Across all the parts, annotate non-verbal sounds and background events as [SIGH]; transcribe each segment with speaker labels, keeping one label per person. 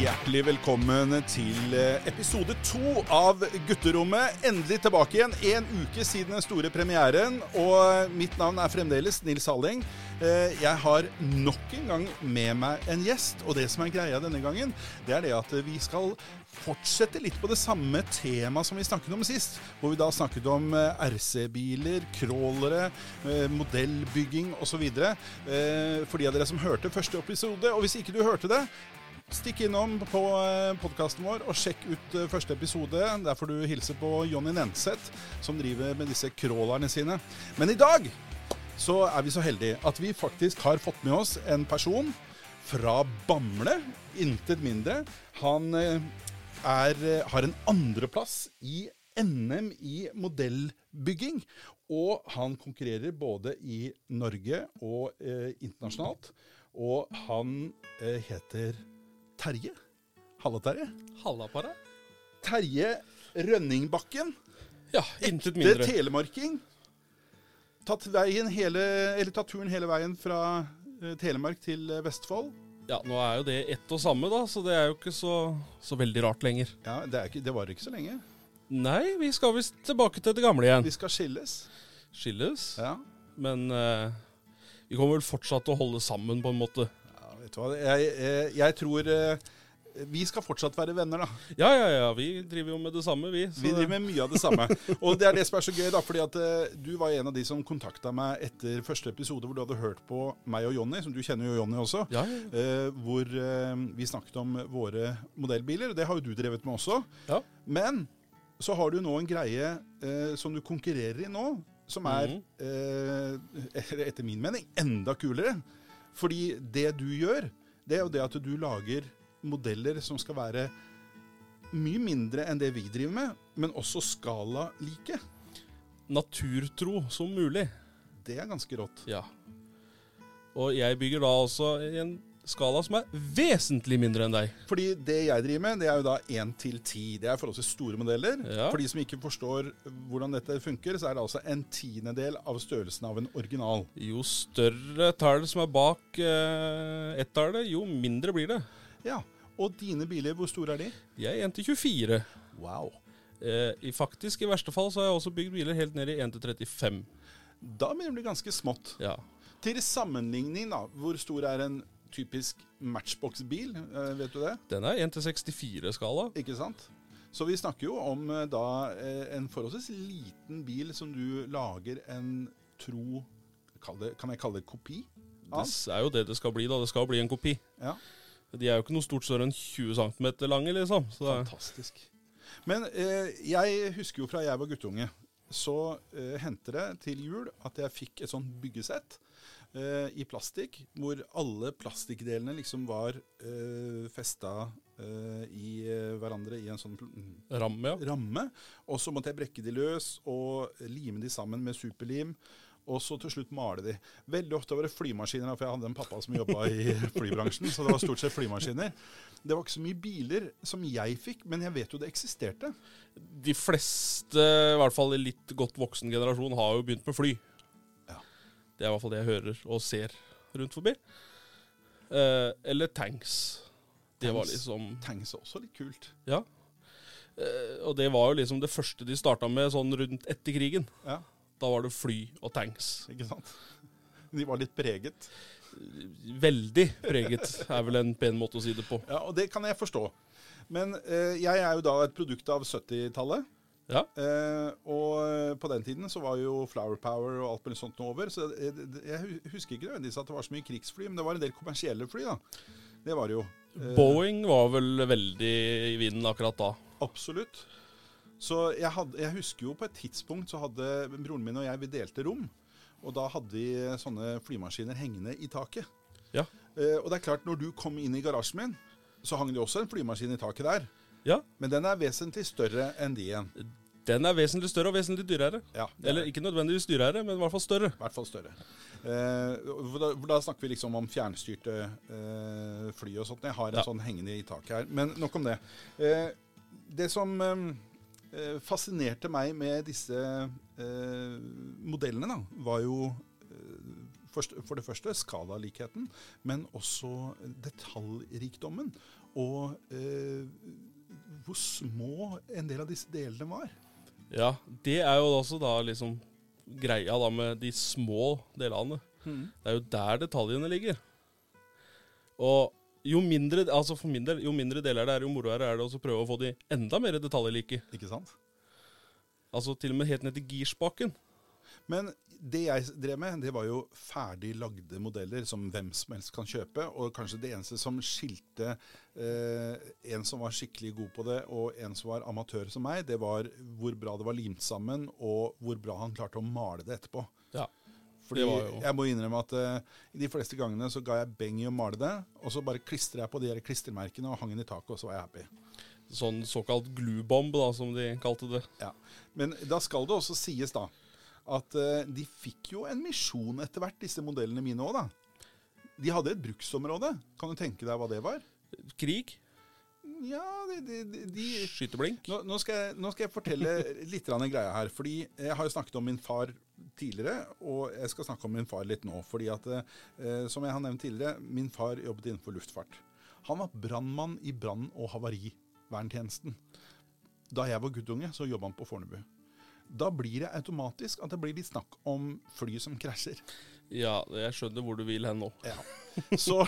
Speaker 1: hjertelig velkommen til eh, episode to av Gutterommet. Endelig tilbake igjen. En uke siden den store premieren. Og eh, mitt navn er fremdeles Nils Halling. Eh, Jeg har nok en gang med meg en gjest. Og det som er greia denne gangen, det er det at eh, vi skal fortsette litt på det samme temaet som vi snakket om sist. Hvor vi da snakket om eh, RC-biler, crawlere, eh, modellbygging osv. Eh, For de av dere som hørte første episode. Og hvis ikke du hørte det, stikk innom på podkasten vår og sjekk ut eh, første episode. Der får du hilse på Jonny Nenseth, som driver med disse crawlerne sine. Men i dag så er vi så heldige at vi faktisk har fått med oss en person fra Bamble, intet mindre. Han eh, er, eh, har en andreplass i NM i modellbygging. Og han konkurrerer både i Norge og eh, internasjonalt. Og han eh, heter Terje. Halla, Terje.
Speaker 2: Halla på deg.
Speaker 1: Terje Rønningbakken.
Speaker 2: Ja, intet
Speaker 1: Det er
Speaker 2: mindre.
Speaker 1: telemarking. Tatt, veien hele, eller tatt turen hele veien fra eh, Telemark til eh, Vestfold.
Speaker 2: Ja, Nå er jo det ett og samme, da, så det er jo ikke så, så veldig rart lenger.
Speaker 1: Ja, det, er ikke, det varer ikke så lenge.
Speaker 2: Nei, vi skal visst tilbake til det gamle igjen.
Speaker 1: Vi skal skilles.
Speaker 2: Skilles.
Speaker 1: Ja.
Speaker 2: Men eh, vi kommer vel fortsatt til å holde sammen, på en måte.
Speaker 1: Ja, vet du hva? Jeg, eh, jeg tror eh, Vi skal fortsatt være venner, da.
Speaker 2: Ja, ja, ja. Vi driver jo med det samme, vi.
Speaker 1: Vi driver med mye av det samme. Og det er det som er så gøy, da. fordi at eh, du var en av de som kontakta meg etter første episode hvor du hadde hørt på meg og Jonny, som du kjenner jo Jonny også.
Speaker 2: Ja, ja, ja.
Speaker 1: eh, hvor eh, vi snakket om våre modellbiler. og Det har jo du drevet med også.
Speaker 2: Ja.
Speaker 1: Men så har du nå en greie eh, som du konkurrerer i nå, som er,
Speaker 2: Mhm.
Speaker 1: eh, [LAUGHS] etter min mening, enda kulere. Fordi det du gjør, det er jo det at du lager modeller som skal være mye mindre enn det vi driver med, men også skala like.
Speaker 2: Naturtro som mulig.
Speaker 1: Det er ganske rått.
Speaker 2: Ja. Og jeg bygger da også i en skala som er vesentlig mindre enn deg.
Speaker 1: Fordi det jeg driver med, det er jo da 1 til 10. Det er forholdsvis store modeller.
Speaker 2: Ja.
Speaker 1: For de som ikke forstår hvordan dette funker, så er det altså en tiendedel av størrelsen av en original.
Speaker 2: Jo større tall som er bak eh, ett-tallet, jo mindre blir det.
Speaker 1: Ja, Og dine biler, hvor store er de?
Speaker 2: De er 1 til 24.
Speaker 1: Wow.
Speaker 2: Eh, i faktisk, i verste fall, så har jeg også bygd biler helt ned i 1 til 35.
Speaker 1: Da begynner det å bli ganske smått.
Speaker 2: Ja.
Speaker 1: Til sammenligning, da, hvor stor er en typisk matchbox-bil? Eh, Vet du det?
Speaker 2: Den er 1 til 64-skala.
Speaker 1: Ikke sant? Så vi snakker jo om eh, da eh, en forholdsvis liten bil som du lager en tro kall det- Kan jeg kalle det kopi?
Speaker 2: Det s- er jo det det skal bli, da. Det skal bli en kopi.
Speaker 1: Ja.
Speaker 2: De er jo ikke noe stort større enn 20 cm lange, liksom. Så det er,
Speaker 1: Fantastisk. Men eh, jeg husker jo fra jeg var guttunge, så eh, hendte det til jul at jeg fikk et sånt byggesett eh, i plastikk, hvor alle plastikkdelene liksom var eh, festa eh, i eh, hverandre i en sånn pl- mm,
Speaker 2: ramme, ja.
Speaker 1: ramme. Og så måtte jeg brekke de løs og lime de sammen med superlim. Og så til slutt male de. Veldig ofte var det flymaskiner, da, for jeg hadde en pappa som jobba i [LAUGHS] flybransjen. Så det var stort sett flymaskiner. Det var ikke så mye biler som jeg fikk, men jeg vet jo det eksisterte.
Speaker 2: De fleste, i hvert fall i litt godt voksen generasjon, har jo begynt med fly.
Speaker 1: Ja.
Speaker 2: Det er i hvert fall det jeg hører og ser rundt forbi. Eh, eller tanks. Det var
Speaker 1: Tanks.
Speaker 2: liksom
Speaker 1: Tanks er også litt kult.
Speaker 2: Ja. Eh, og det var jo liksom det første de starta med sånn rundt etter krigen.
Speaker 1: Ja,
Speaker 2: Da var det fly og tanks.
Speaker 1: ikke sant? De var litt preget.
Speaker 2: Veldig preget, er vel en pen måte å si det på.
Speaker 1: Ja, Og det kan jeg forstå. Men eh, jeg er jo da et produkt av 70-tallet.
Speaker 2: Ja.
Speaker 1: Eh, og på den tiden så var jo Flower Power og alt mulig sånt nå over. Så jeg, jeg hu- husker ikke nødvendigvis at det var så mye krigsfly, men det var en del kommersielle fly, da. Det var det jo. Eh,
Speaker 2: Boeing var vel veldig i vinden akkurat da.
Speaker 1: Absolutt. Så jeg, hadde, jeg husker jo på et tidspunkt så hadde broren min og jeg, vi delte rom. Og da hadde vi sånne flymaskiner hengende i taket.
Speaker 2: Ja.
Speaker 1: Eh, og det er klart, når du kom inn i garasjen min, så hang det også en flymaskin i taket der.
Speaker 2: Ja.
Speaker 1: Men den er vesentlig større enn de igjen.
Speaker 2: Den er vesentlig større og vesentlig dyrere.
Speaker 1: Ja, det er
Speaker 2: Eller ikke nødvendigvis dyrere, men i hvert fall større.
Speaker 1: I hvert fall større. Eh, hvor da, hvor da snakker vi liksom om fjernstyrte eh, fly og sånt. Jeg har en
Speaker 2: Ja.
Speaker 1: sånn hengende i taket her. Men nok om det. Eh, det som eh, fascinerte meg med disse eh, modellene, da, var jo eh, først, for det første skalalikheten, men også detaljrikdommen. og eh, hvor små en del av disse delene var.
Speaker 2: Ja, det er jo også da liksom greia da med de små delene. Det er jo der detaljene ligger. Og jo mindre, altså for min del, jo mindre deler det er, jo moroere er det også å prøve å få de enda mer detaljlike.
Speaker 1: Ikke sant?
Speaker 2: Altså til og med helt ned til girspaken.
Speaker 1: Men det jeg drev med, det var jo ferdig lagde modeller som hvem som helst kan kjøpe. Og kanskje det eneste som skilte eh, en som var skikkelig god på det, og en som var amatør som meg, det var hvor bra det var limt sammen, og hvor bra han klarte å male det etterpå.
Speaker 2: Ja.
Speaker 1: Fordi
Speaker 2: Det var jo-
Speaker 1: jeg må innrømme at eh, de fleste gangene så ga jeg beng i å male det, og så bare klistra jeg på de her klistremerkene og hang den i taket, og så var jeg happy.
Speaker 2: Sånn såkalt gluebomb, da, som de kalte det.
Speaker 1: Ja. Men da skal det også sies, da, at eh, de fikk jo en misjon etter hvert, disse modellene mine òg, da. De hadde et bruksområde. Kan du tenke deg hva det var?
Speaker 2: Krig,
Speaker 1: Ja, de, de, de, de
Speaker 2: skyteblink.
Speaker 1: nå, nå, skal jeg, nå skal jeg fortelle litt grann en greie her. Fordi jeg har jo snakket om min far tidligere, og jeg skal snakke om min far litt nå. Fordi at, eh, som jeg har nevnt tidligere, min far jobbet innenfor luftfart. Han var brannmann i brann- og havariverntjenesten. Da jeg var guttunge, så jobba han på Fornebu. Da blir det automatisk at det blir litt snakk om fly som krasjer.
Speaker 2: Ja, jeg skjønner hvor du vil hen nå.
Speaker 1: Ja. Så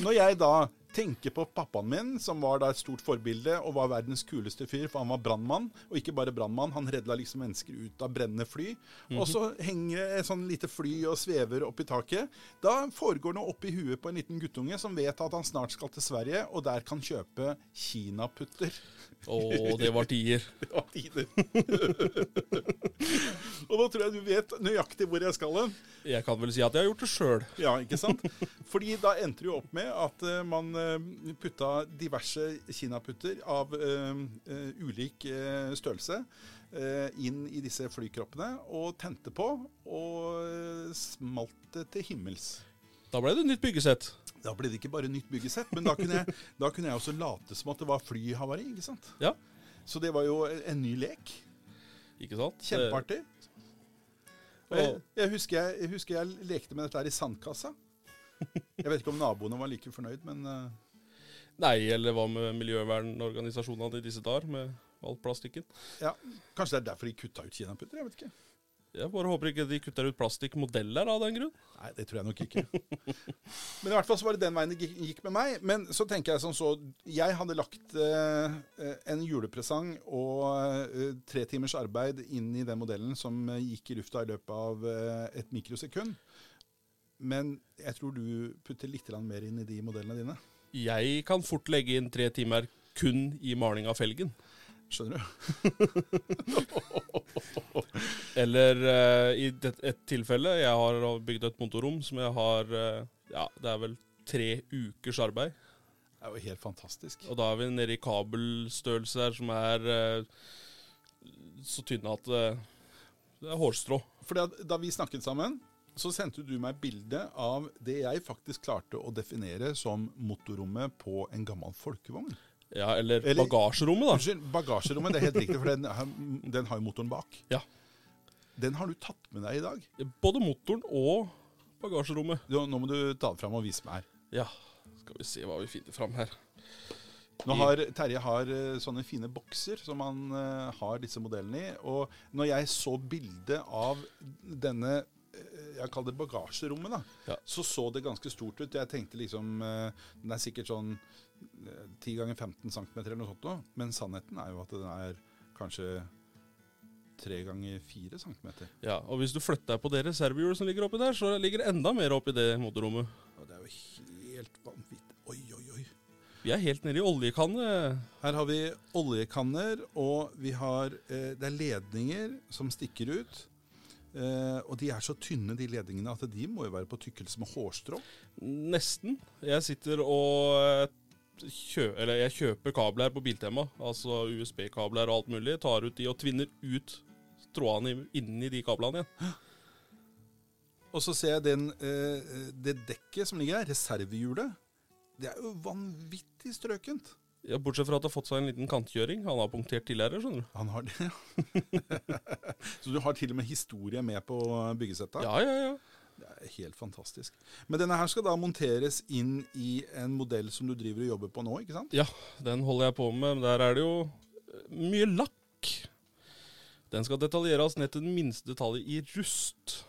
Speaker 1: når jeg da tenker på pappaen min, som var da et stort forbilde og var verdens kuleste fyr, for han var brannmann, og ikke bare brannmann, han redda liksom mennesker ut av brennende fly. Og så henger det et sånn lite fly og svever opp i taket. Da foregår noe oppi huet på en liten guttunge som vet at han snart skal til Sverige, og der kan kjøpe kinaputter. [LAUGHS]
Speaker 2: Å, det var tider.
Speaker 1: Det var tider. [LAUGHS] og nå tror jeg du vet nøyaktig hvor jeg skal hen.
Speaker 2: Jeg kan vel si at jeg har gjort det sjøl.
Speaker 1: Ja, ikke sant? Fordi da endte det jo opp med at eh, man eh, putta diverse kinaputter av eh, eh, ulik eh, størrelse eh, inn i disse flykroppene og tente på, og eh, smalt det til himmels.
Speaker 2: Da ble det nytt byggesett.
Speaker 1: Da ble det ikke bare nytt byggesett, men da kunne jeg, da kunne jeg også late som at det var flyhavari, ikke sant?
Speaker 2: Ja.
Speaker 1: Så det var jo en ny lek.
Speaker 2: Ikke sant?
Speaker 1: Kjempeartig. Og Jeg, jeg, husker jeg, jeg husker jeg lekte med dette her i sandkassa. Jeg vet ikke om naboene var like fornøyd, men eh,
Speaker 2: Nei, eller hva med miljøvernorganisasjonene i disse dager, med all plastikken?
Speaker 1: Ja, Kanskje det er derfor de kutta ut kinaputter? Jeg vet ikke.
Speaker 2: Jeg bare håper ikke de kutter ut plastikkmodeller av den grunn.
Speaker 1: Nei, det tror jeg nok ikke. Men i hvert fall så var det den veien det gikk- gikk med meg. Men så tenker jeg som så Jeg hadde lagt eh, eh, en julepresang og eh, tre timers arbeid inn i den modellen som eh, gikk i lufta i løpet av eh, et mikrosekund. Men jeg tror du putter litt grann mer inn i de modellene dine.
Speaker 2: Jeg kan fort legge inn tre timer kun i maling av felgen.
Speaker 1: Skjønner du?
Speaker 2: Eller eh, i det, et tilfelle, jeg har bygd et motorrom som jeg har eh, Ja, det er vel tre ukers arbeid.
Speaker 1: Det er jo helt fantastisk.
Speaker 2: Og da er vi nede i kabelstørrelser som er eh, så tynne at eh, det er hårstrå.
Speaker 1: Fordi at da vi snakket sammen, så sendte du meg bilde av det jeg faktisk klarte å definere som motorrommet på en gammel folkevogn.
Speaker 2: Ja, eller,
Speaker 1: Eller-
Speaker 2: bagasjerommet, da.
Speaker 1: Unnskyld, bagasjerommet. Det er helt riktig, for den, har- den har jo motoren bak.
Speaker 2: Ja.
Speaker 1: Den har du tatt med deg i dag.
Speaker 2: Både motoren og bagasjerommet.
Speaker 1: Du, nå må du ta den fram og vise meg her.
Speaker 2: Ja, skal vi se hva vi finner fram her.
Speaker 1: Nå har, Terje har eh, sånne fine bokser som han eh, har disse modellene i. Og når jeg så bildet av denne eh, jeg kaller det bagasjerommet, da,
Speaker 2: Ja.
Speaker 1: så så det ganske stort ut. Jeg tenkte liksom eh, Den er sikkert sånn eh, 10 ganger 15 cm eller noe sånt noe. Men sannheten er jo at den er kanskje 3 ganger 4 cm.
Speaker 2: Ja, og hvis du flytter deg på det reservehjulet som ligger oppi der, så ligger det enda mer oppi det motorrommet.
Speaker 1: Og det er jo helt vanvittig. Oi, oi, oi.
Speaker 2: Vi er helt nede i oljekanne.
Speaker 1: Her har vi oljekanner, og vi har, eh, det er ledninger som stikker ut. Eh, og de er så tynne, de ledningene, at de må jo være på tykkelse med hårstrå.
Speaker 2: Nesten. Jeg sitter og eh, kjø eller jeg kjøper kabler på Biltema, altså USB-kabler og alt mulig. Tar ut de og tvinner ut trådene i- inni de kablene igjen.
Speaker 1: Og så ser jeg den, eh, det dekket som ligger her, reservehjulet. Det er jo vanvittig strøkent.
Speaker 2: Ja, bortsett fra at det har fått seg en liten kantkjøring. Han har punktert tidligere, skjønner du.
Speaker 1: Han har det, ja. [LAUGHS] så du har til og med historie med på byggesettet?
Speaker 2: Ja, ja, ja.
Speaker 1: Det Det er helt fantastisk. Men denne her skal da monteres inn i en modell som du driver og jobber på nå, ikke sant?
Speaker 2: Den holder jeg på med. men Der er det jo eh, mye lakk. Den skal detaljeres ned til den minste detalj i rust.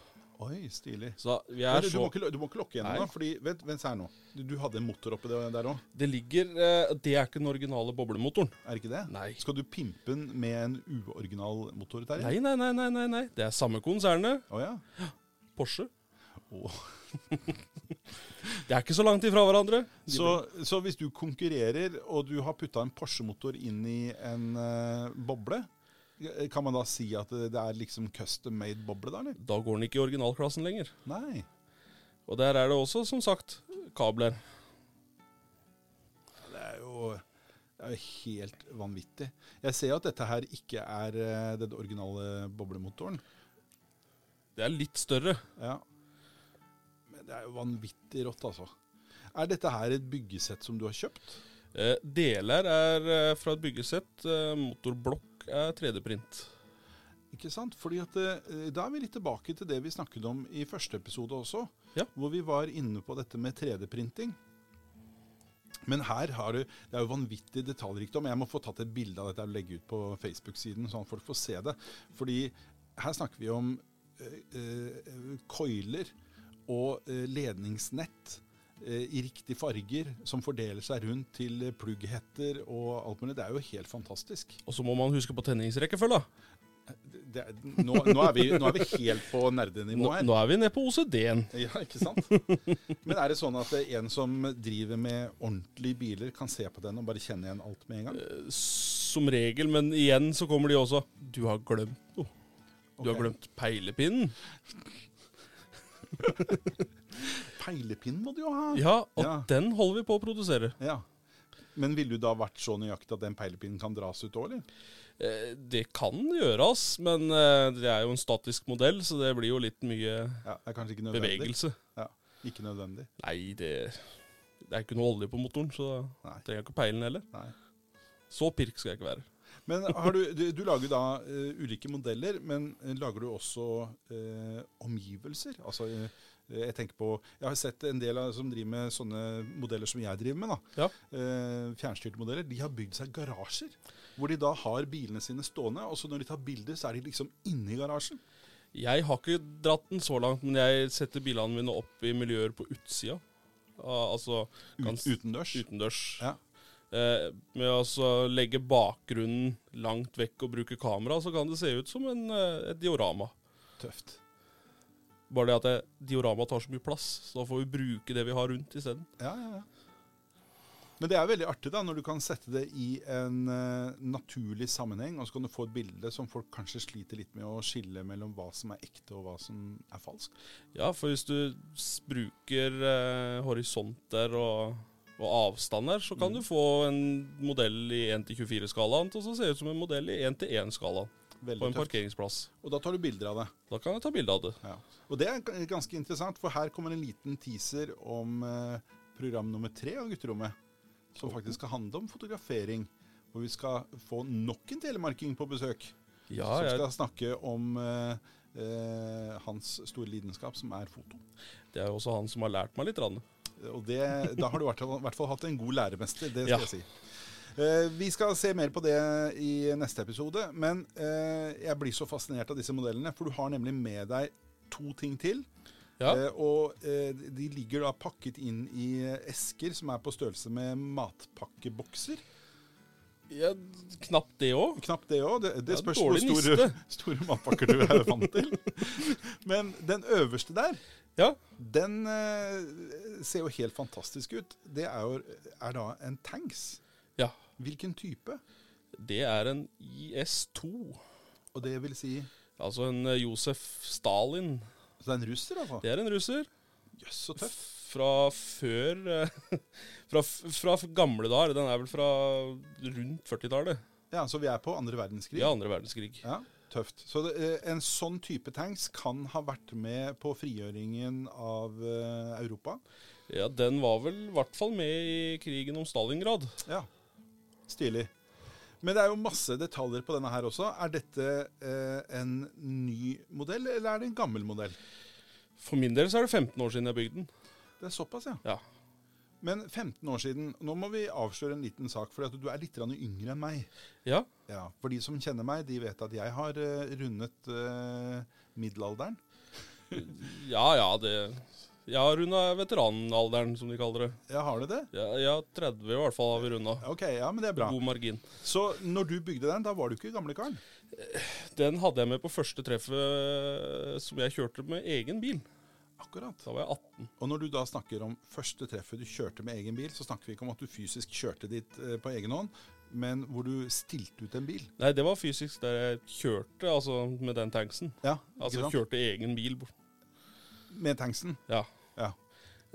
Speaker 1: Oi, stilig.
Speaker 2: Så da, vi
Speaker 1: Men
Speaker 2: er
Speaker 1: Du, du,
Speaker 2: så
Speaker 1: må ikke, lo- du må ikke lokke
Speaker 2: Nei.
Speaker 1: gjennom, da. Fordi, vent, vent her nå. Du, du hadde en motor oppi det der òg,
Speaker 2: Det ligger eh, Det er ikke den originale boblemotoren.
Speaker 1: er det ikke det?
Speaker 2: Nei.
Speaker 1: Skal du pimpe den med en uoriginal motor, Terje?
Speaker 2: Nei, nei, nei, nei, nei, nei. Det er samme konsernet.
Speaker 1: Å ja?
Speaker 2: Porsche.
Speaker 1: Å.
Speaker 2: [LAUGHS] De er ikke så langt ifra hverandre. De
Speaker 1: Så, så hvis du konkurrerer, og du har putta en Porsche-motor inn i en eh, boble, kan man da si at det det er liksom custom made boble, da? eller?
Speaker 2: blir- Da går den ikke i originalklassen lenger.
Speaker 1: Nei.
Speaker 2: Og der er det også, som sagt, kabler.
Speaker 1: Det er jo, det er jo helt vanvittig. Jeg ser jo at dette her ikke er eh, den originale boblemotoren.
Speaker 2: Det er litt større.
Speaker 1: Ja. Men det er jo vanvittig rått, altså. Er dette her et byggesett som du har kjøpt?
Speaker 2: Eh, deler er eh, fra et byggesett. Eh, motorblokk er 3D-print.
Speaker 1: Ikke sant? Fordi at, eh, Da er vi litt tilbake til det vi snakket om i første episode også.
Speaker 2: Ja.
Speaker 1: Hvor vi var inne på dette med 3D-printing. Men her har du, det er jo vanvittig detaljrikdom. Jeg må få tatt et bilde av dette og legge ut på Facebook-siden, sånn at folk får se det. Fordi her snakker vi om eh, eh, koiler og eh, ledningsnett eh, i riktige farger som fordeler seg rundt til eh, plugghetter og alt mulig. Det er jo helt fantastisk.
Speaker 2: Og så må man huske på tenningsrekkefølga.
Speaker 1: Det er, nå, nå, er vi, nå er vi helt på nerdenivå
Speaker 2: Nå,
Speaker 1: her.
Speaker 2: nå er vi nede på OCD-en.
Speaker 1: Ja, ikke sant? Men er det sånn at det er en som driver med ordentlige biler, kan se på den og bare kjenne igjen alt med en gang?
Speaker 2: Eh, Som regel, men igjen så kommer de også. Du har glemt noe. Du har
Speaker 1: Ok.
Speaker 2: glemt peilepinnen.
Speaker 1: Peilepinn må du jo ha!
Speaker 2: Ja, og
Speaker 1: Ja.
Speaker 2: den holder vi på å produsere.
Speaker 1: Ja. Men ville du da vært så nøyaktig at den peilepinnen kan dras ut òg, eller?
Speaker 2: Eh, Det kan gjøres, men eh, det er jo en statisk modell, så det blir jo litt mye
Speaker 1: Ja, det er kanskje ikke nødvendig.
Speaker 2: bevegelse.
Speaker 1: Ja, ikke nødvendig.
Speaker 2: Nei, det, det er ikke noe olje på motoren, så
Speaker 1: Nei.
Speaker 2: trenger jeg ikke peilen heller.
Speaker 1: Nei.
Speaker 2: Så pirk skal jeg ikke være.
Speaker 1: Men har du, du, du lager da eh, ulike modeller, men eh, lager du også eh, omgivelser? Altså, eh, jeg tenker på, jeg har sett en del av, som driver med sånne modeller som jeg driver med. da.
Speaker 2: Ja.
Speaker 1: Eh, fjernstyrte modeller. De har bygd seg garasjer, hvor de da har bilene sine stående. Og så når de tar bilder, så er de liksom inne i garasjen.
Speaker 2: Jeg har ikke dratt den så langt, men jeg setter bilene mine opp i miljøer på utsida. Ah, Altså kan
Speaker 1: Ut,
Speaker 2: s-
Speaker 1: utendørs.
Speaker 2: utendørs.
Speaker 1: Ja.
Speaker 2: Eh, med å så legge bakgrunnen langt vekk og bruke kamera, så kan det se ut som en, eh, et diorama.
Speaker 1: Tøft.
Speaker 2: Bare det at det, diorama tar så mye plass, så da får vi bruke det vi har rundt isteden.
Speaker 1: Ja, ja, ja. Men det er veldig artig da, når du kan sette det i en eh, naturlig sammenheng, og så kan du få et bilde som folk kansten sliter litt med å skille mellom hva som er ekte og hva som er falskt.
Speaker 2: Ja, for hvis du s- bruker eh, horisonter og, og avstander, så kan
Speaker 1: Mm.
Speaker 2: du få en modell i 1-24-skalaen til å se ut som en modell i 1-1-skalaen på
Speaker 1: Veldig
Speaker 2: en
Speaker 1: tøft.
Speaker 2: parkeringsplass.
Speaker 1: Og da tar du bilder av det.
Speaker 2: Da kan jeg ta bilde av det.
Speaker 1: Ja. Og det er g- ganske interessant, for her kommer en liten teaser om eh, program nummer tre av Gutterommet, som faktisk skal handle om fotografering. Hvor vi skal få nok en telemarking på besøk,
Speaker 2: Ja,
Speaker 1: som
Speaker 2: jeg,
Speaker 1: skal snakke om eh, eh, hans store lidenskap, som er foto.
Speaker 2: det er jo også han som har lært meg litt. Rann.
Speaker 1: Og det, da har du i hvert fall- i hvert fall hatt en god læremester, det skal
Speaker 2: Ja.
Speaker 1: jeg si. Eh, vi skal se mer på det i neste episode, men eh, jeg blir så fascinert av disse modellene, for du har nemlig med deg to ting til.
Speaker 2: Ja.
Speaker 1: Eh, og eh, de ligger da pakket inn i eh, esker som er på størrelse med matpakkebokser.
Speaker 2: Ja, knapt det òg.
Speaker 1: Knapt det òg. Det, det
Speaker 2: Ja,
Speaker 1: spørs hvor
Speaker 2: dårlig
Speaker 1: store,
Speaker 2: niste.
Speaker 1: [LAUGHS] store matpakker du er vant til. Men den øverste der,
Speaker 2: Ja.
Speaker 1: den eh, ser jo helt fantastisk ut. Det er, jo, er da en tanks.
Speaker 2: ja.
Speaker 1: Hvilken type?
Speaker 2: Det er en IS-2.
Speaker 1: Og det vil si
Speaker 2: Altså en eh, Josef Stalin.
Speaker 1: Så det er en russer, altså?
Speaker 2: Det er en russer.
Speaker 1: Jøss, så tøft.
Speaker 2: Fra før eh, [LAUGHS] fra, f- fra f- gamle dager. Den er vel fra rundt 40-tallet.
Speaker 1: Ja, Så vi er på andre verdenskrig?
Speaker 2: Ja, andre verdenskrig.
Speaker 1: Ja, tøft. Så det, eh, en sånn type tanks kan ha vært med på frigjøringen av eh, Europa?
Speaker 2: Ja, Den var vel i hvert fall med i krigen om Stalingrad.
Speaker 1: Ja. Stilig. Men det er jo masse detaljer på denne her også. Er dette eh, en ny modell, eller er det en gammel modell?
Speaker 2: For min del så er det 15 år siden jeg bygde den.
Speaker 1: Det er såpass, ja.
Speaker 2: Ja.
Speaker 1: Men 15 år siden Nå må vi avsløre en liten sak, for at du er litt grann yngre enn meg.
Speaker 2: Ja,
Speaker 1: Ja, For de som kjenner meg, de vet at jeg har eh, rundet eh, middelalderen.
Speaker 2: ja, ja det Jeg har runda veteranalderen, som de kaller det.
Speaker 1: Ja, Har du det?
Speaker 2: Ja, ja 30 i hvert fall har vi runda.
Speaker 1: Ok, ja, men det er bra.
Speaker 2: God margin.
Speaker 1: Så når du bygde den, da var du ikke gamlekaren?
Speaker 2: Den hadde jeg med på første treffet eh, som jeg kjørte med egen bil.
Speaker 1: Akkurat.
Speaker 2: Da var jeg 18.
Speaker 1: Og når du da snakker om første treffet du kjørte med egen bil, så snakker vi ikke om at du fysisk kjørte dit eh, på egen hånd, men hvor du stilte ut en bil.
Speaker 2: Nei, det var fysisk der jeg kjørte, altså med den tanksen.
Speaker 1: Ja,
Speaker 2: Altså
Speaker 1: ikke sant?
Speaker 2: kjørte egen bil. bort.
Speaker 1: Med tanksen.
Speaker 2: Ja.
Speaker 1: Ja.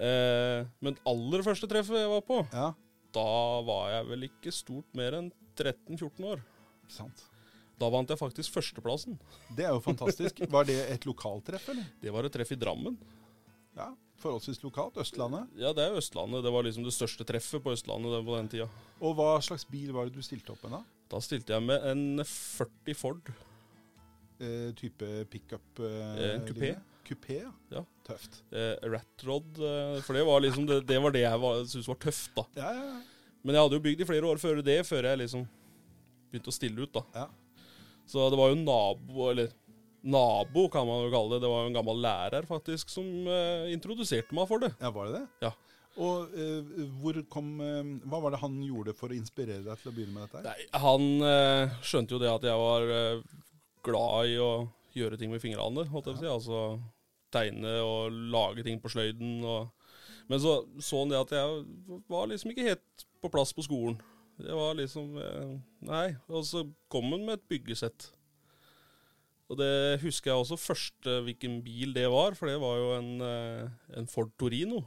Speaker 2: Eh, men aller første treffet jeg var på,
Speaker 1: Ja,
Speaker 2: da var jeg vel ikke stort mer enn 13-14 år.
Speaker 1: sant.
Speaker 2: Da vant jeg faktisk førsteplassen.
Speaker 1: Det er jo fantastisk. Var det et lokaltreff, eller?
Speaker 2: Det var et treff i Drammen.
Speaker 1: Ja, forholdsvis lokalt. Østlandet.
Speaker 2: Ja, det er Østlandet. Det var liksom det største treffet på Østlandet det- på den tida.
Speaker 1: Og hva slags bil var det du stilte opp med da?
Speaker 2: Da stilte jeg med en 40 Ford.
Speaker 1: Eh, type pickup?
Speaker 2: Eh, en kupé.
Speaker 1: linje? Kupé, ja.
Speaker 2: Ja.
Speaker 1: Tøft.
Speaker 2: Eh, Ratrod. Eh, for det var liksom det, det, var det jeg var- syntes var tøft, da.
Speaker 1: Ja, ja, ja.
Speaker 2: Men jeg hadde jo bygd i flere år før det, før jeg liksom begynte å stille ut, da.
Speaker 1: Ja.
Speaker 2: Så det var jo nabo, eller nabo kan man jo kalle det. Det var jo en gammel lærer, faktisk, som eh, introduserte meg for det.
Speaker 1: ja, var det det?
Speaker 2: Ja.
Speaker 1: Og eh, hvor kom, eh, hva var det han gjorde for å inspirere deg til å begynne med dette? her?
Speaker 2: Nei, han eh, skjønte jo det at jeg var eh, glad i å gjøre ting med fingrene, holdt jeg på å si. Altså tegne og lage ting på sløyden. Og... Men så så han det at jeg var liksom ikke helt på plass på skolen. Det var liksom eh, Nei. Og så kom han med et byggesett. Og det husker jeg også først eh, hvilken bil det var, for det var jo en, eh, en Ford Torino.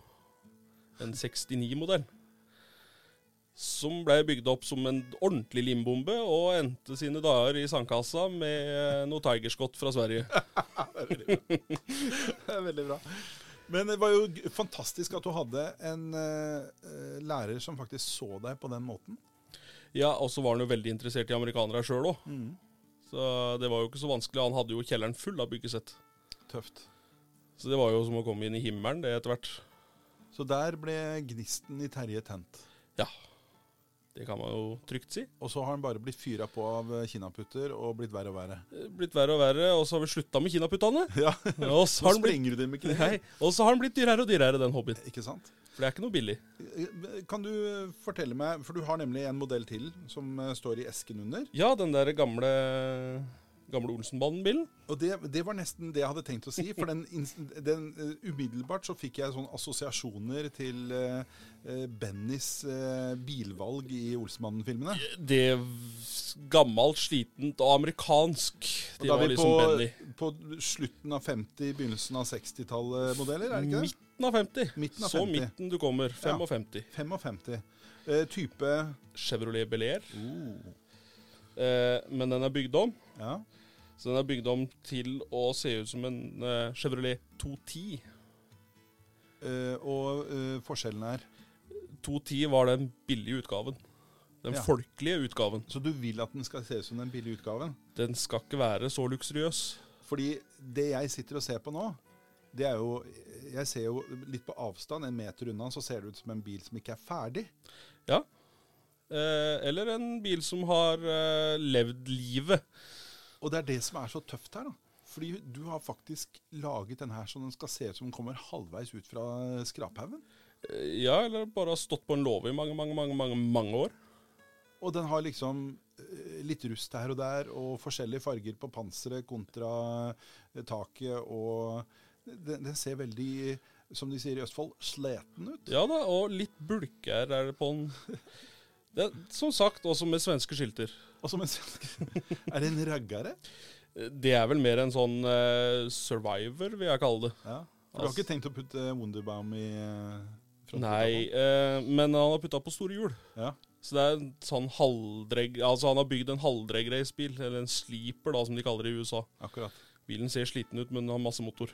Speaker 2: En 69-modell som ble bygd opp som en ordentlig limbombe og endte sine dager i sandkassa med eh, noe Tigerskott fra Sverige.
Speaker 1: [LAUGHS] Det er veldig bra. Men det var jo g- fantastisk at du hadde en eh, eh, lærer som faktisk så deg på den måten.
Speaker 2: Ja, Og så var han jo veldig interessert i amerikanere sjøl òg, så det var jo ikke så vanskelig. Han hadde jo kjelleren full av byggesett,
Speaker 1: Tøft.
Speaker 2: så det var jo som å komme inn i himmelen, det etter hvert.
Speaker 1: Så der ble gnisten i Terje tent.
Speaker 2: Ja, det kan man jo trygt si.
Speaker 1: Og så har han bare blitt fyra på av eh, kinaputter og blitt verre og
Speaker 2: [LAUGHS]
Speaker 1: verre.
Speaker 2: Eh, Blitt verre og verre, og så har vi slutta
Speaker 1: [LAUGHS]
Speaker 2: med kinaputtene.
Speaker 1: Ja,
Speaker 2: Og så
Speaker 1: Så
Speaker 2: har han blitt,
Speaker 1: sprenger du det med kniv.
Speaker 2: nei, og så har han blitt dyrere og dyrere, den hobbyen.
Speaker 1: Ikke sant?
Speaker 2: For det er ikke noe billig.
Speaker 1: Eh, Kan du fortelle meg, for du har nemlig en modell til som eh, står i esken under.
Speaker 2: Ja, den der gamle, gamle Olsenbanen-bilen.
Speaker 1: Og det, det var nesten det jeg hadde tenkt å si, for den, ins- den eh, umiddelbart så fikk jeg sånne assosiasjoner til eh, eh, Bennys eh, bilvalg i Olsmannen-filmene.
Speaker 2: det v- gammelt, slitent og amerikansk.
Speaker 1: Og
Speaker 2: Det
Speaker 1: da er
Speaker 2: var
Speaker 1: vi
Speaker 2: liksom Benny.
Speaker 1: på, på slutten av 50, begynnelsen av 60-tallet modeller, er det ikke det?
Speaker 2: Midten av 50.
Speaker 1: Midten av
Speaker 2: Så
Speaker 1: 50.
Speaker 2: midten du kommer. 55.
Speaker 1: 55. Eh, type
Speaker 2: Chevrolet Bel Air.
Speaker 1: oh,
Speaker 2: Eh, men den er bygd om.
Speaker 1: ja.
Speaker 2: Så den er bygd om til å se ut som en eh, Chevrolet 210.
Speaker 1: eh, Og eh, forskjellen er
Speaker 2: 210 var den billige utgaven. Den
Speaker 1: Ja.
Speaker 2: folkelige utgaven.
Speaker 1: Så du vil at den skal se ut som den billige utgaven?
Speaker 2: Den skal ikke være så luksuriøs.
Speaker 1: Fordi det jeg sitter og ser på nå, det er jo Jeg ser jo litt på avstand, en meter unna, så ser det ut som en bil som ikke er ferdig.
Speaker 2: Ja. Eh, eller en bil som har eh, levd livet.
Speaker 1: Og det er det som er så tøft her, da. Fordi du har faktisk laget den her så den skal se ut som den kommer halvveis ut fra skraphaugen.
Speaker 2: Eh, ja, eller bare har stått på en låve i mange, mange, mange, mange, mange år.
Speaker 1: Og den har liksom eh, litt rust her og der, og forskjellige farger på panseret kontra eh, taket, og den, den ser veldig, som de sier i Østfold, sleten ut.
Speaker 2: Ja da, og litt bulker er det på den. Det er, som sagt, også med svenske skilter.
Speaker 1: Og som en svensk [LAUGHS] Er det en raggare?
Speaker 2: Det er vel mer en sånn eh, survivor, vil jeg kalle det.
Speaker 1: Ja. For du har
Speaker 2: Altså-
Speaker 1: ikke tenkt å putte Wonderbaum i eh, frontruta
Speaker 2: Nei, eh, men han har putta på store hjul.
Speaker 1: på? Ja.
Speaker 2: Så det er en sånn halvdregg... Altså, han har bygd en halvdregg-racebil, eller en sleeper, da, som de kaller det i USA.
Speaker 1: Akkurat.
Speaker 2: Bilen ser sliten ut, men har masse motor.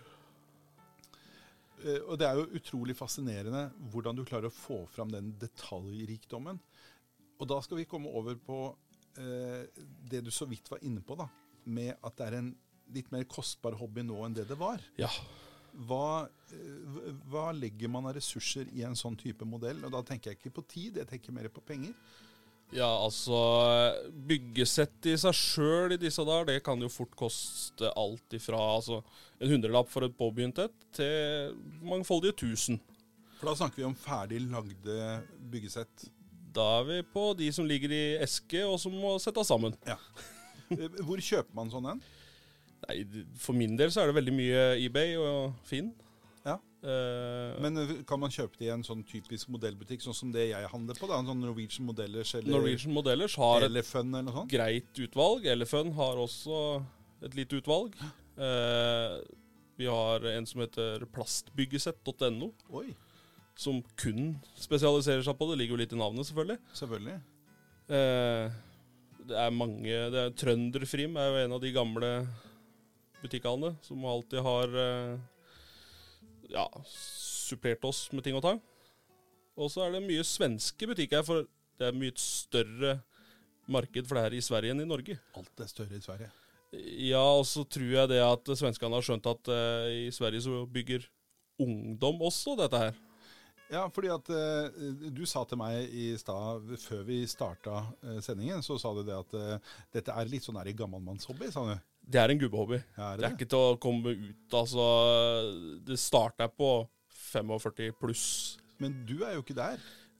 Speaker 1: Eh, Og det er jo utrolig fascinerende hvordan du klarer å få fram den detaljrikdommen. Og da skal vi komme over på eh, det du så vidt var inne på, da. Med at det er en litt mer kostbar hobby nå enn det det var.
Speaker 2: Ja.
Speaker 1: hva, eh, hva legger man av ressurser i en sånn type modell? Og da tenker jeg ikke på tid, jeg tenker mer på penger.
Speaker 2: Ja, altså Byggesett i seg sjøl i disse dager, det kan jo fort koste alt ifra altså, en hundrelapp for et påbegynt et, til mangfoldige tusen.
Speaker 1: For da snakker vi om ferdig lagde byggesett.
Speaker 2: Da er vi på de som ligger i eske, og som må settes sammen.
Speaker 1: Eh, Hvor kjøper man sånn en?
Speaker 2: Nei, for min del så er det veldig mye eBay og Finn.
Speaker 1: Ja.
Speaker 2: Eh,
Speaker 1: Men eh, kan man kjøpe det i en sånn typisk modellbutikk, sånn som det jeg handler på? da, en sånn Norwegian Modellers eller
Speaker 2: Norwegian Modellers har et
Speaker 1: Elefun eller noe sånt?
Speaker 2: greit utvalg. Elefun har også et lite utvalg. Eh, vi har en som heter plastbyggesett.no,
Speaker 1: Oi,
Speaker 2: som kun spesialiserer seg på det. Ligger jo litt i navnet, selvfølgelig.
Speaker 1: selvfølgelig.
Speaker 2: Eh, det er mange det er Trønderfrim er jo en av de gamle butikkene som alltid har eh, ja, supplert oss med ting og tang. Og så er det mye svenske butikker, for det er mye et større marked for det her i Sverige enn i Norge.
Speaker 1: Alt er større i Sverige.
Speaker 2: Ja, og så tror jeg det at svenskene har skjønt at eh, i Sverige så bygger ungdom også dette her.
Speaker 1: Ja, fordi at eh, du sa til meg i stad, før vi starta eh, sendingen, så sa du det at eh, dette er litt sånn her i gammalmannshobby, sa du.
Speaker 2: Det er en gubbehobby.
Speaker 1: Ja,
Speaker 2: Det er ikke til å komme ut, altså. Det starter på 45 pluss.
Speaker 1: Men du er jo ikke der.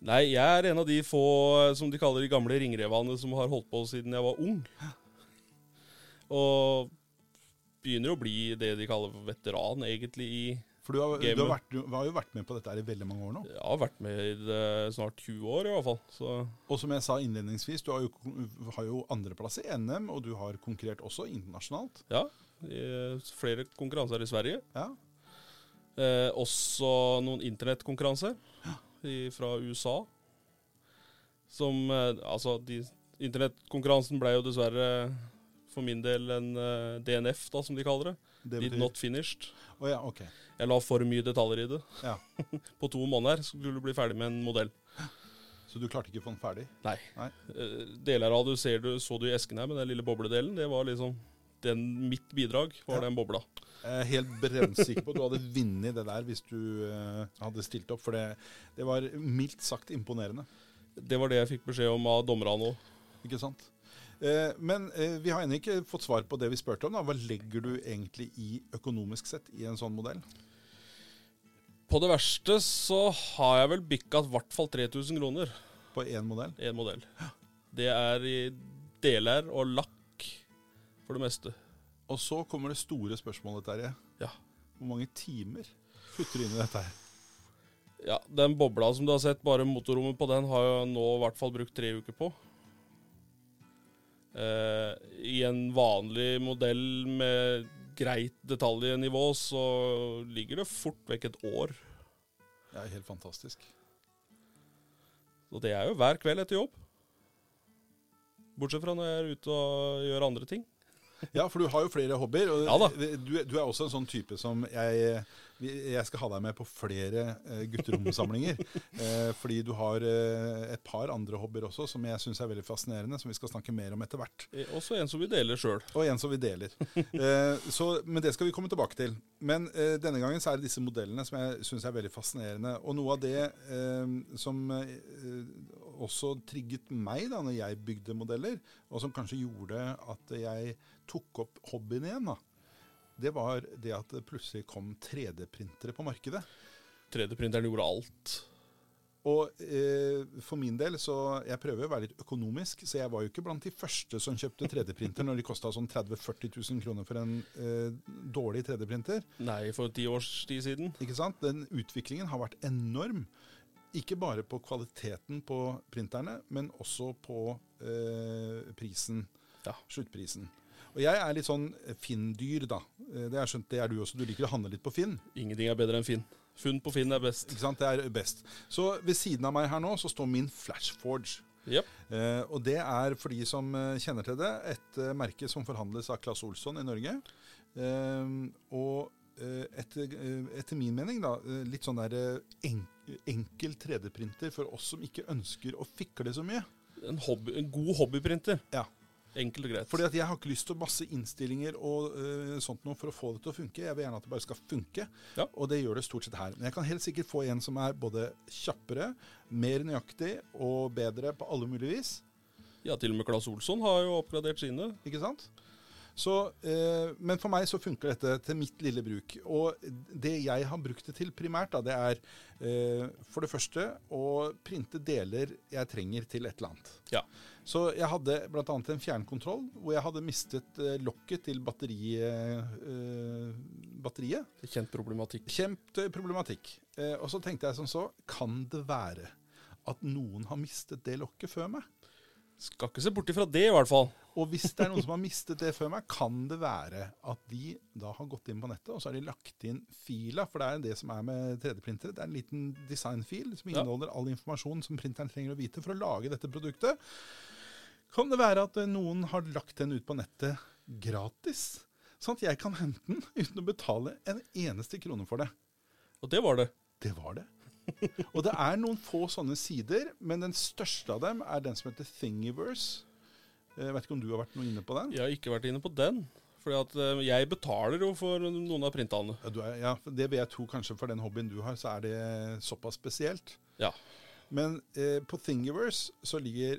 Speaker 2: Nei, jeg er en av de få, eh, som de kaller de gamle ringrevene, som har holdt på siden jeg var ung. Og begynner å bli det de kaller veteran, egentlig, i
Speaker 1: For du har, du, har
Speaker 2: Gamer.
Speaker 1: vært, du har jo vært med på dette her i veldig mange år nå.
Speaker 2: Jeg har vært med i det snart 20 år, i hvert fall. Så
Speaker 1: Og som jeg sa innledningsvis, du har jo, kon- har jo andreplass i NM, og du har konkurrert også internasjonalt.
Speaker 2: ja. eh, Flere konkurranser i Sverige.
Speaker 1: Ja.
Speaker 2: Eh, også noen internettkonkurranser i- fra USA. Som eh, Altså, de, internettkonkurransen ble jo dessverre for min del en eh, DNF, da, som de kaller det.
Speaker 1: Det
Speaker 2: Did not finished.
Speaker 1: Å ja, ok.
Speaker 2: Jeg la for mye detaljer i det.
Speaker 1: Ja.
Speaker 2: [LAUGHS] På to måneder skulle du bli ferdig med en modell.
Speaker 1: Så du klarte ikke å få den ferdig?
Speaker 2: Nei.
Speaker 1: Nei.
Speaker 2: Eh, deler av det ser du, så du i esken her, med den lille bobledelen. Det var liksom den, Mitt bidrag var
Speaker 1: Ja.
Speaker 2: den bobla.
Speaker 1: Jeg er helt brennsikker på at du hadde vunnet det der hvis du eh, hadde stilt opp, for det, det var mildt sagt imponerende.
Speaker 2: Det var det jeg fikk beskjed om av dommerne òg.
Speaker 1: Ikke sant? Eh, men eh, vi har ennå ikke fått svar på det vi spurte om. Da. Hva legger du egentlig i økonomisk sett i en sånn modell?
Speaker 2: På det verste så har jeg vel bikka i hvert fall 3000 kroner
Speaker 1: På én modell?
Speaker 2: i en modell. Det er i deler og lakk for det meste.
Speaker 1: Og så kommer det store spørsmålet, Terje.
Speaker 2: Ja.
Speaker 1: Hvor mange timer putter du inn i dette her?
Speaker 2: Ja, Den bobla som du har sett, bare motorrommet på den, har jeg nå i hvert fall brukt tre uker på. Eh, I en vanlig modell med greit detaljnivå, så ligger det fort vekk et år.
Speaker 1: Det er helt fantastisk.
Speaker 2: Og det er jo hver kveld etter jobb. Bortsett fra når jeg er ute og gjør andre ting.
Speaker 1: Ja, for du har jo flere hobbyer. Og
Speaker 2: Ja da.
Speaker 1: Du, du er også en sånn type som jeg, jeg skal ha deg med på flere eh,
Speaker 2: [LAUGHS]
Speaker 1: gutteromsamlinger. eh, fordi du har eh, et par andre hobbyer også som jeg syns er veldig fascinerende, som vi skal snakke mer om etter hvert.
Speaker 2: Eh, Også en som vi deler sjøl.
Speaker 1: Og en som vi deler. Eh, så, men det skal vi komme tilbake til. Men eh, denne gangen så er det disse modellene som jeg syns er veldig fascinerende. Og noe av det eh, som eh, også trigget meg da når jeg bygde modeller, og som kanskje gjorde at jeg tok opp hobbyen igjen, da, det var det at det plutselig kom 3D-printere på markedet.
Speaker 2: 3D-printeren gjorde alt.
Speaker 1: Og eh, for min del, så jeg prøver å være litt økonomisk, så jeg var jo ikke blant de første som kjøpte 3D-printer når de kosta sånn 30 000-40 000 kroner for en eh, dårlig 3D-printer.
Speaker 2: Nei, for ti års tid siden.
Speaker 1: Ikke sant? Den utviklingen har vært enorm. Ikke bare på kvaliteten på printerne, men også på eh, prisen.
Speaker 2: Ja.
Speaker 1: Sluttprisen. Og jeg er litt sånn Finn-dyr, da. Eh, Det har jeg skjønt, det er du også. Du liker å handle litt på Finn.
Speaker 2: Ingenting er bedre enn Finn. Funn på Finn er best.
Speaker 1: Ikke sant? Det er best. Så ved siden av meg her nå så står min Flashforge.
Speaker 2: Jep.
Speaker 1: Eh, og det er for de som eh, kjenner til det, et eh, merke som forhandles av Claes Olsson i Norge. Eh, og eh, etter, eh, etter min mening, da, eh, litt sånn der eh, en, enkel 3D-printer for oss som ikke ønsker å fikle så mye.
Speaker 2: En, hobby, en god hobbyprinter.
Speaker 1: Ja.
Speaker 2: Enkelt og greit.
Speaker 1: Fordi at jeg har ikke lyst til masse innstillinger og eh, sånt noe for å få det til å funke. Jeg vil gjerne at det bare skal funke,
Speaker 2: Ja.
Speaker 1: og det gjør det stort sett her. Men jeg kan helt sikkert få en som er både kjappere, mer nøyaktig og bedre på alle mulige vis.
Speaker 2: Ja, til og med Claes Olsson har jo oppgradert sine.
Speaker 1: Ikke sant? Så, eh, men for meg så funker dette til mitt lille bruk. Og det jeg har brukt det til primært, da, det er eh, for det første å printe deler jeg trenger til et eller annet.
Speaker 2: Ja.
Speaker 1: Så jeg hadde bl.a. en fjernkontroll hvor jeg hadde mistet eh, lokket til batteriet. Eh, batteriet.
Speaker 2: Kjent problematikk.
Speaker 1: Kjempe problematikk. Eh, og så tenkte jeg som så, kan det være at noen har mistet det lokket før meg?
Speaker 2: Skal ikke se bort ifra det, i hvert fall.
Speaker 1: Og hvis det er noen som har mistet det før meg, kan det være at de da har gått inn på nettet, og så har de lagt inn fila, for det er det som er med 3D-printere. Det er en liten designfil som
Speaker 2: Ja.
Speaker 1: inneholder all informasjon som printeren trenger å vite for å lage dette produktet. Kan det være at eh, noen har lagt den ut på nettet gratis? Sånn at jeg kan hente den uten å betale en eneste krone for det.
Speaker 2: Og det var det.
Speaker 1: Det var det. Og det er noen få sånne sider, men den største av dem er den som heter Thingiverse. Eh, Jeg vet ikke om du har vært noe inne på den?
Speaker 2: Jeg har ikke vært inne på den. Fordi at eh, jeg betaler jo for noen av printene.
Speaker 1: Ja, du er, ja, for det vil jeg tro kanskje for den hobbyen du har, så er det såpass spesielt.
Speaker 2: Ja.
Speaker 1: Men eh, på Thingiverse så ligger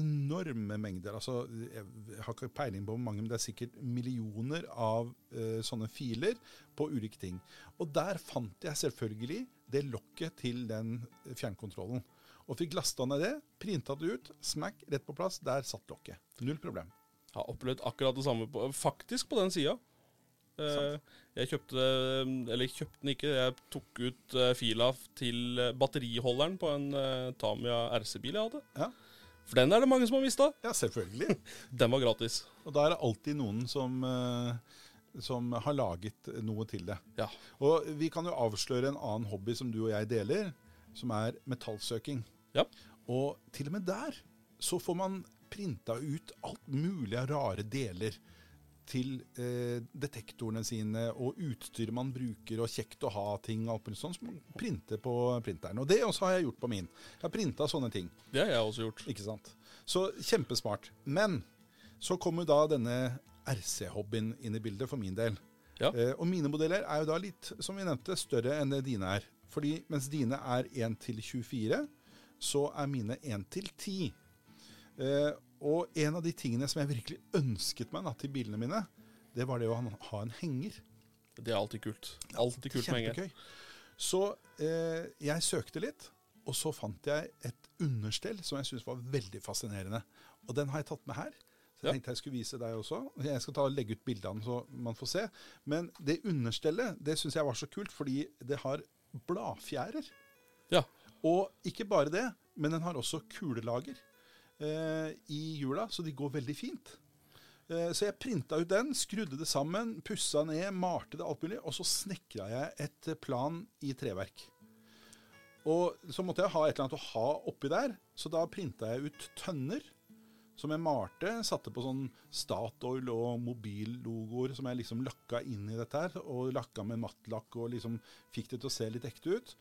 Speaker 1: enorme mengder, altså jeg har ikke peiling på hvor mange, men det er sikkert millioner av eh, sånne filer på ulike ting. Og der fant jeg selvfølgelig det lokket til den fjernkontrollen. Og fikk lasta ned det, printa det ut, smack, rett på plass. Der satt lokket. Null problem.
Speaker 2: Jeg har opplevd akkurat det samme på, faktisk på den sida.
Speaker 1: Sant.
Speaker 2: jeg kjøpte eh, Eller kjøpte den ikke, jeg tok ut eh, fila f- til eh, batteriholderen på en eh, Tamia RC-bil jeg hadde.
Speaker 1: Ja.
Speaker 2: For den er det mange som har mista.
Speaker 1: Ja, selvfølgelig.
Speaker 2: Den var gratis.
Speaker 1: Og da er det alltid noen som, eh, som har laget noe til det.
Speaker 2: Ja.
Speaker 1: Og vi kan jo avsløre en annen hobby som du og jeg deler, som er metallsøking.
Speaker 2: Ja.
Speaker 1: Og til og med der så får man printa ut alt mulig av rare deler til eh, detektorene sine og utstyr man bruker, og kjekt å ha ting og alt mulig sånt som man printer på printeren. Og det også har jeg gjort på min. Jeg har printa sånne ting.
Speaker 2: Det har jeg også gjort.
Speaker 1: Ikke sant? Så kjempesmart. Men så kommer da denne RC-hobbyen inn i bildet for min del.
Speaker 2: Ja.
Speaker 1: Eh, og mine modeller er jo da litt, som vi nevnte, større enn det dine er. Fordi mens dine er 1 til 24, så er mine 1 til 10. Eh, og en av de tingene som jeg virkelig ønsket meg da, til bilene mine, det var det å ha- ha en henger.
Speaker 2: Det er alltid kult. Alltid kult med henger.
Speaker 1: Kjempegøy. Så eh, jeg søkte litt, og så fant jeg et understell som jeg syntes var veldig fascinerende. Og den har jeg tatt med her. Så jeg
Speaker 2: Ja.
Speaker 1: tenkte jeg skulle vise deg også. Jeg skal ta og legge ut bildene så man får se. Men det understellet det syns jeg var så kult, fordi det har bladfjærer.
Speaker 2: Ja.
Speaker 1: Og ikke bare det, men den har også kulelager eh, i hjula, så de går veldig fint. Eh, så jeg printa ut den, skrudde det sammen, pussa ned, malte det alt mulig, og så snekra jeg et eh, plan i treverk. Og så måtte jeg ha et eller annet å ha oppi der, så da printa jeg ut tønner. Som jeg malte, satte på sånn Statoil og mobillogoer som jeg liksom lakka inn i dette her. Og lakka med mattlakk og liksom fikk det til å se litt ekte ut.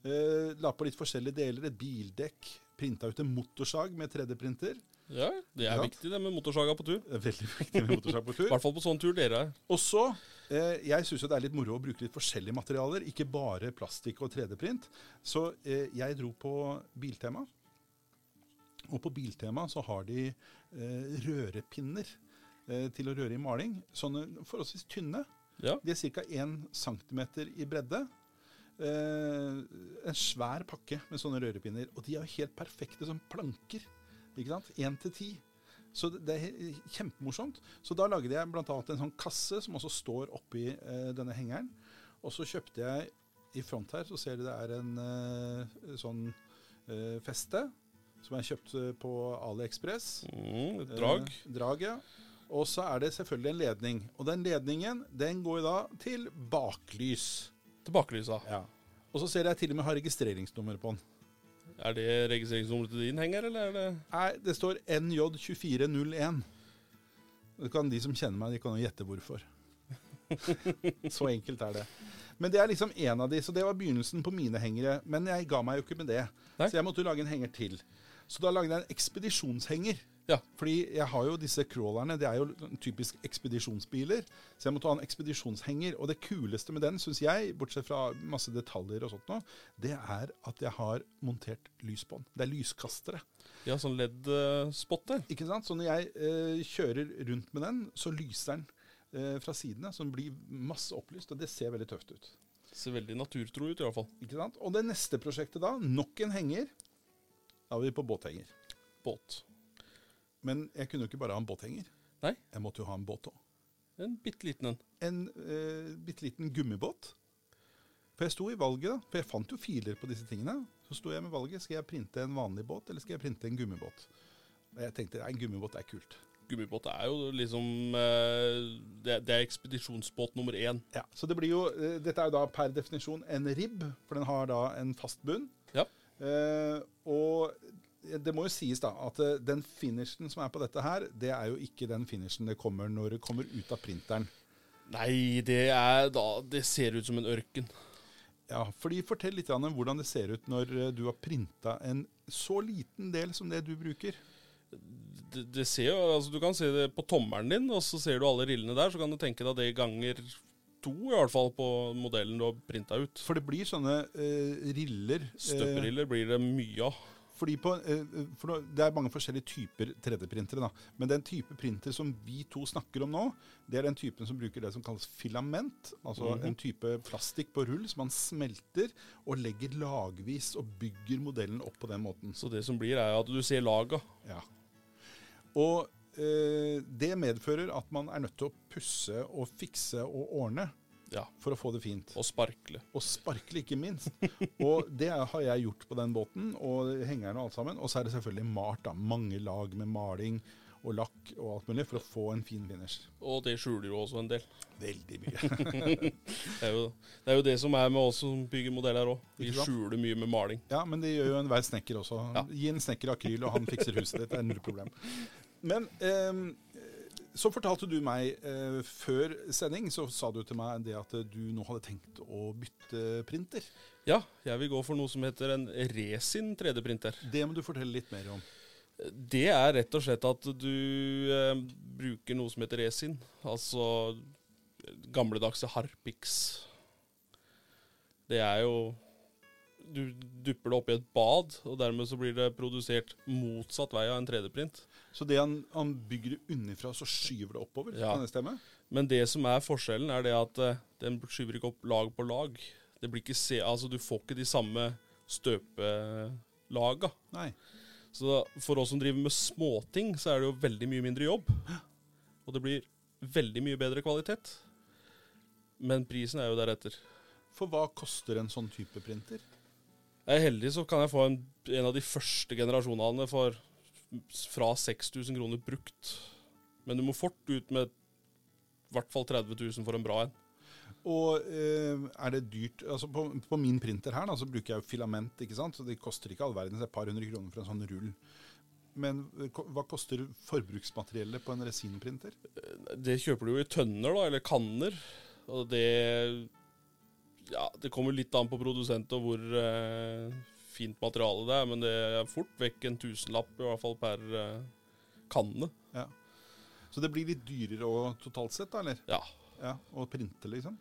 Speaker 1: Eh, la på litt forskjellige deler. Et bildekk. Printa ut en motorsag med 3D-printer.
Speaker 2: ja. Det er
Speaker 1: Ja.
Speaker 2: viktig, det med motorsaga på tur.
Speaker 1: Det er Veldig viktig [LAUGHS] med motorsag på
Speaker 2: I
Speaker 1: tur.
Speaker 2: hvert fall på sånn tur dere er.
Speaker 1: Og så, eh, jeg syns jo det er litt moro å bruke litt forskjellige materialer. Ikke bare plastikk og 3D-print. Så eh, jeg dro på Biltema. Og på Biltema så har de eh, rørepinner eh, til å røre i maling. Sånne forholdsvis tynne.
Speaker 2: Ja.
Speaker 1: De er ca. 1 cm i bredde. Eh, en svær pakke med sånne rørepinner. Og de er jo helt perfekte som planker. Ikke sant? Én til ti. Så det det er he- kjempemorsomt. Så da lagde jeg bl.a. en sånn kasse som også står oppi eh, denne hengeren. Og så kjøpte jeg i front her, så ser du det er en eh, sånn eh, feste som jeg kjøpte på AliExpress.
Speaker 2: Mm, et drag.
Speaker 1: Eh, drag, ja. Og så er det selvfølgelig en ledning. Og den ledningen den går jo da til baklys.
Speaker 2: Tilbakelysa.
Speaker 1: Og så ser jeg til og med har registreringsnummer på den.
Speaker 2: Er det registreringsnummeret til din henger, eller er det
Speaker 1: Nei, det står NJ2401. Det kan De som kjenner meg, de kan jo gjette hvorfor. [LAUGHS] så enkelt er det. Men det er liksom én av de, så det var begynnelsen på mine hengere. Men jeg ga meg jo ikke med det,
Speaker 2: Nei.
Speaker 1: så jeg måtte jo lage en henger til. Så da lagde jeg en ekspedisjonshenger.
Speaker 2: Ja.
Speaker 1: Fordi jeg har jo disse crawlerne, det er jo typisk ekspedisjonsbiler. Så jeg må ta en ekspedisjonshenger. Og det kuleste med den, syns jeg, bortsett fra masse detaljer og sånt nå, det er at jeg har montert lys på den. Det er lyskastere.
Speaker 2: Ja, sånn LED-spotter.
Speaker 1: Ikke sant? Så når jeg eh, kjører rundt med den, så lyser den eh, fra sidene. Så den blir masse opplyst, og det ser veldig tøft ut.
Speaker 2: Ser veldig naturtro ut, i hvert fall.
Speaker 1: Ikke sant? Og det neste prosjektet da, nok en henger. Da er vi på båthenger.
Speaker 2: Båt.
Speaker 1: Men jeg kunne jo ikke bare ha en båthenger.
Speaker 2: Nei.
Speaker 1: Jeg måtte jo ha en båt òg.
Speaker 2: En bitte liten en.
Speaker 1: En eh, bitte liten gummibåt. For jeg sto i valget, da. For jeg fant jo filer på disse tingene. Så sto jeg med valget. Skal jeg printe en vanlig båt, eller skal jeg printe en gummibåt? Og jeg tenkte nei, en gummibåt er kult.
Speaker 2: Gummibåt er jo liksom eh, Det, det er ekspedisjonsbåt nummer én.
Speaker 1: Ja, Så det blir jo eh, Dette er jo da per definisjon en ribb, for den har da en fast bunn.
Speaker 2: Ja.
Speaker 1: Eh, og det må jo sies da at eh, den finishen som er på dette her, det er jo ikke den finishen det kommer når det kommer ut av printeren.
Speaker 2: Nei, det er da Det ser ut som en ørken.
Speaker 1: Ja, fordi Fortell litt grann om hvordan det ser ut når eh, du har printa en så liten del som det du bruker.
Speaker 2: Det, det ser jo, altså Du kan se det på tommelen din, og så ser du alle rillene der. Så kan du tenke deg det ganger to, i hvert fall, på modellen du har printa ut.
Speaker 1: For det blir sånne eh, riller. eh,
Speaker 2: Støperiller blir det mye av.
Speaker 1: Fordi på, eh, for nå- Det er mange forskjellige typer 3D-printere. da, Men den type printer som vi to snakker om nå, det er den typen som bruker det som kalles filament. Altså
Speaker 2: Mhm.
Speaker 1: en type plastikk på rull som man smelter og legger lagvis og bygger modellen opp på den måten.
Speaker 2: Så det som blir, er at du ser laga.
Speaker 1: Ja. Og eh, det medfører at man er nødt til å pusse og fikse og ordne
Speaker 2: Ja.
Speaker 1: for å få det fint.
Speaker 2: Og sparkle.
Speaker 1: Og sparkle, ikke minst. Og det har jeg gjort på den båten, og hengeren og alt sammen. Og så er det selvfølgelig malt, da. Mange lag med maling og lakk og alt mulig for å få en fin finish.
Speaker 2: Og det skjuler jo også en del.
Speaker 1: Veldig mye.
Speaker 2: Det er jo det, er jo det som er med oss som bygger modeller òg. Vi
Speaker 1: Ikke sant?
Speaker 2: skjuler mye med maling.
Speaker 1: [LAUGHS] Ja, men det gjør jo enhver snekker også.
Speaker 2: Ja.
Speaker 1: Gi en snekker akryl, og han fikser huset ditt. Det er null problem. Men ehm, så fortalte du meg eh, før sending, så sa du til meg det at du nå hadde tenkt å bytte printer.
Speaker 2: Ja, jeg vil gå for noe som heter en resin 3D-printer.
Speaker 1: Det må du fortelle litt mer om.
Speaker 2: Det er rett og slett at du eh, bruker noe som heter resin. Altså gamledagse harpiks. Det er jo Du dupper det oppi et bad, og dermed så blir det produsert motsatt vei av en 3D-print.
Speaker 1: Så det han, han bygger det unnifra, så skyver det oppover?
Speaker 2: Ja.
Speaker 1: Kan det stemme?
Speaker 2: Men det som er forskjellen, er det at eh, den skyver ikke opp lag på lag. Det blir ikke se, altså Du får ikke de samme støpelaga.
Speaker 1: Nei.
Speaker 2: Så da, for oss som driver med småting, så er det jo veldig mye mindre jobb. Og det blir veldig mye bedre kvalitet. Men prisen er jo deretter.
Speaker 1: For hva koster en sånn type printer?
Speaker 2: Er jeg heldig, så kan jeg få en, en av de første generasjonene for fra 6000 kroner brukt. Men du må fort ut med i hvert fall 30 000 for en bra en.
Speaker 1: Og eh, er det dyrt altså på, på min printer her da, så bruker jeg jo filament, ikke sant? så det koster ikke all verden. Det er et par hundre kroner for en sånn rull. Men eh, ko- hva koster forbruksmateriellet på en resinprinter?
Speaker 2: Det kjøper du jo i tønner, da, eller kanner. Og det Ja, det kommer litt an på produsent og hvor eh, fint materiale det er, men det er fort vekk en tusenlapp i hvert fall per eh, kanne.
Speaker 1: Ja. Så det blir litt dyrere og, totalt sett, da, eller?
Speaker 2: Ja.
Speaker 1: Ja, Å printe, liksom?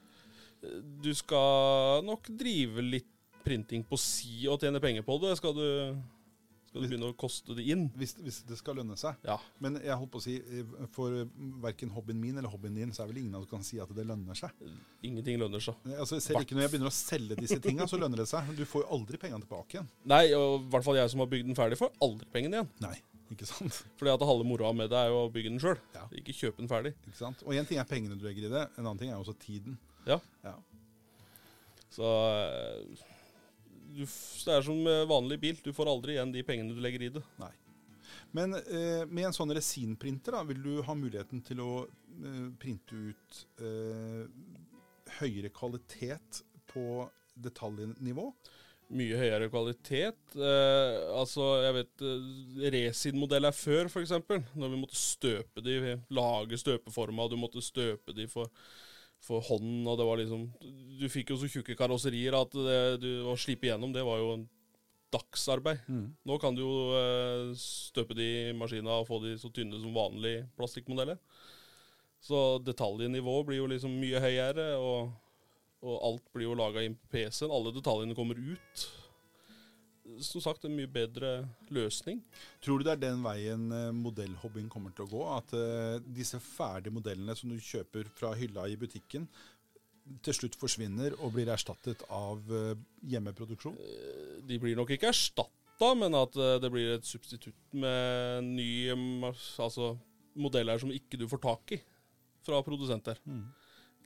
Speaker 2: Du skal nok drive litt printing på si og tjene penger på det. Skal du, skal du begynne å koste det inn?
Speaker 1: Hvis, hvis det skal lønne seg.
Speaker 2: Ja.
Speaker 1: Men jeg holdt på å si, eh, for verken hobbyen min eller hobbyen din, så er vel ingen av oss kan si at det lønner seg.
Speaker 2: Ingenting lønner seg.
Speaker 1: Altså, selv ikke når jeg begynner å selge disse tinga, så lønner det seg. Du får jo aldri pengene tilbake igjen.
Speaker 2: Nei, og i hvert fall jeg som har bygd den ferdig, får aldri pengene igjen.
Speaker 1: Nei, ikke sant?
Speaker 2: Fordi at halve moroa med det er jo å bygge den sjøl,
Speaker 1: Ja.
Speaker 2: ikke kjøpe den ferdig.
Speaker 1: Ikke sant? Og én ting er pengene du legger i det, en annen ting er jo også tiden.
Speaker 2: Ja.
Speaker 1: Ja.
Speaker 2: Så eh, du, f- det er som med vanlig bil. Du får aldri igjen de pengene du legger i det.
Speaker 1: Nei. Men eh, med en sånn resinprinter, da, vil du ha muligheten til å eh, printe ut eh, høyere kvalitet på detaljnivå?
Speaker 2: Mye høyere kvalitet. Eh, altså, jeg vet eh, Resin-modell er før, f.eks. Når vi måtte støpe de, lage støpeforma, og du måtte støpe de for, for hånden, og det var liksom Du fikk jo så tjukke karosserier at det, du, å slipe gjennom, det var jo en dagsarbeid.
Speaker 1: Mm.
Speaker 2: Nå kan du jo eh, støpe de i maskina og få de så tynne som vanlige plastikkmodeller. Så detaljnivået blir jo liksom mye høyere, og, og alt blir jo laga inn på PC-en. Alle detaljene kommer ut. Som sagt, en mye bedre løsning.
Speaker 1: Tror du det er den veien eh, modellhobbyen kommer til å gå? At eh, disse ferdige modellene som du kjøper fra hylla i butikken, til slutt forsvinner og blir erstattet av eh, hjemmeproduksjon?
Speaker 2: Eh, De blir nok ikke erstatta, men at eh, det blir et substitutt med nye mas- altså, modeller som ikke du får tak i fra produsenter.
Speaker 1: Mm.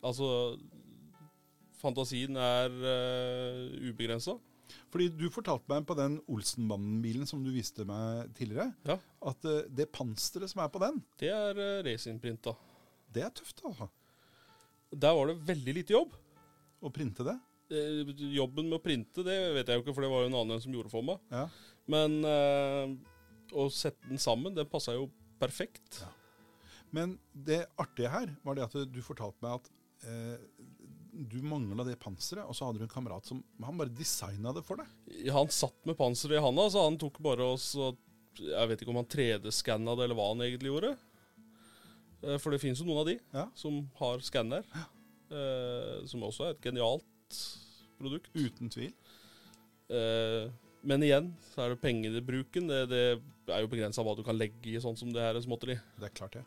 Speaker 2: Altså, fantasien er uh, ubegrensa.
Speaker 1: Fordi du fortalte meg på den Olsenbanden-bilen som du viste meg tidligere,
Speaker 2: Ja.
Speaker 1: at eh, det pansteret som er på den,
Speaker 2: Det er uh, racingprinta.
Speaker 1: det er tøft altså.
Speaker 2: Der var det veldig lite jobb.
Speaker 1: Å printe det.
Speaker 2: Eh, jobben med å printe, det vet jeg jo ikke, for det var jo en annen som gjorde for meg.
Speaker 1: Ja.
Speaker 2: Men eh, å sette den sammen, den passa jo perfekt.
Speaker 1: Ja. Men det artige her var det at du fortalte meg at eh, du mangla det panseret, og så hadde du en kamerat som han bare designa det for deg.
Speaker 2: Ja, han satt med panseret i handa, så han tok bare og så Jeg vet ikke om han 3D-skanna det, eller hva han egentlig gjorde. Eh, For det fins jo noen av de
Speaker 1: Ja.
Speaker 2: som har skanner, eh, som også er et genialt produkt.
Speaker 1: Uten tvil.
Speaker 2: Eh, Men igjen så er det pengebruken. Det, det er jo begrensa hva du kan legge i sånn som det her småtteri.
Speaker 1: Det er klart, det.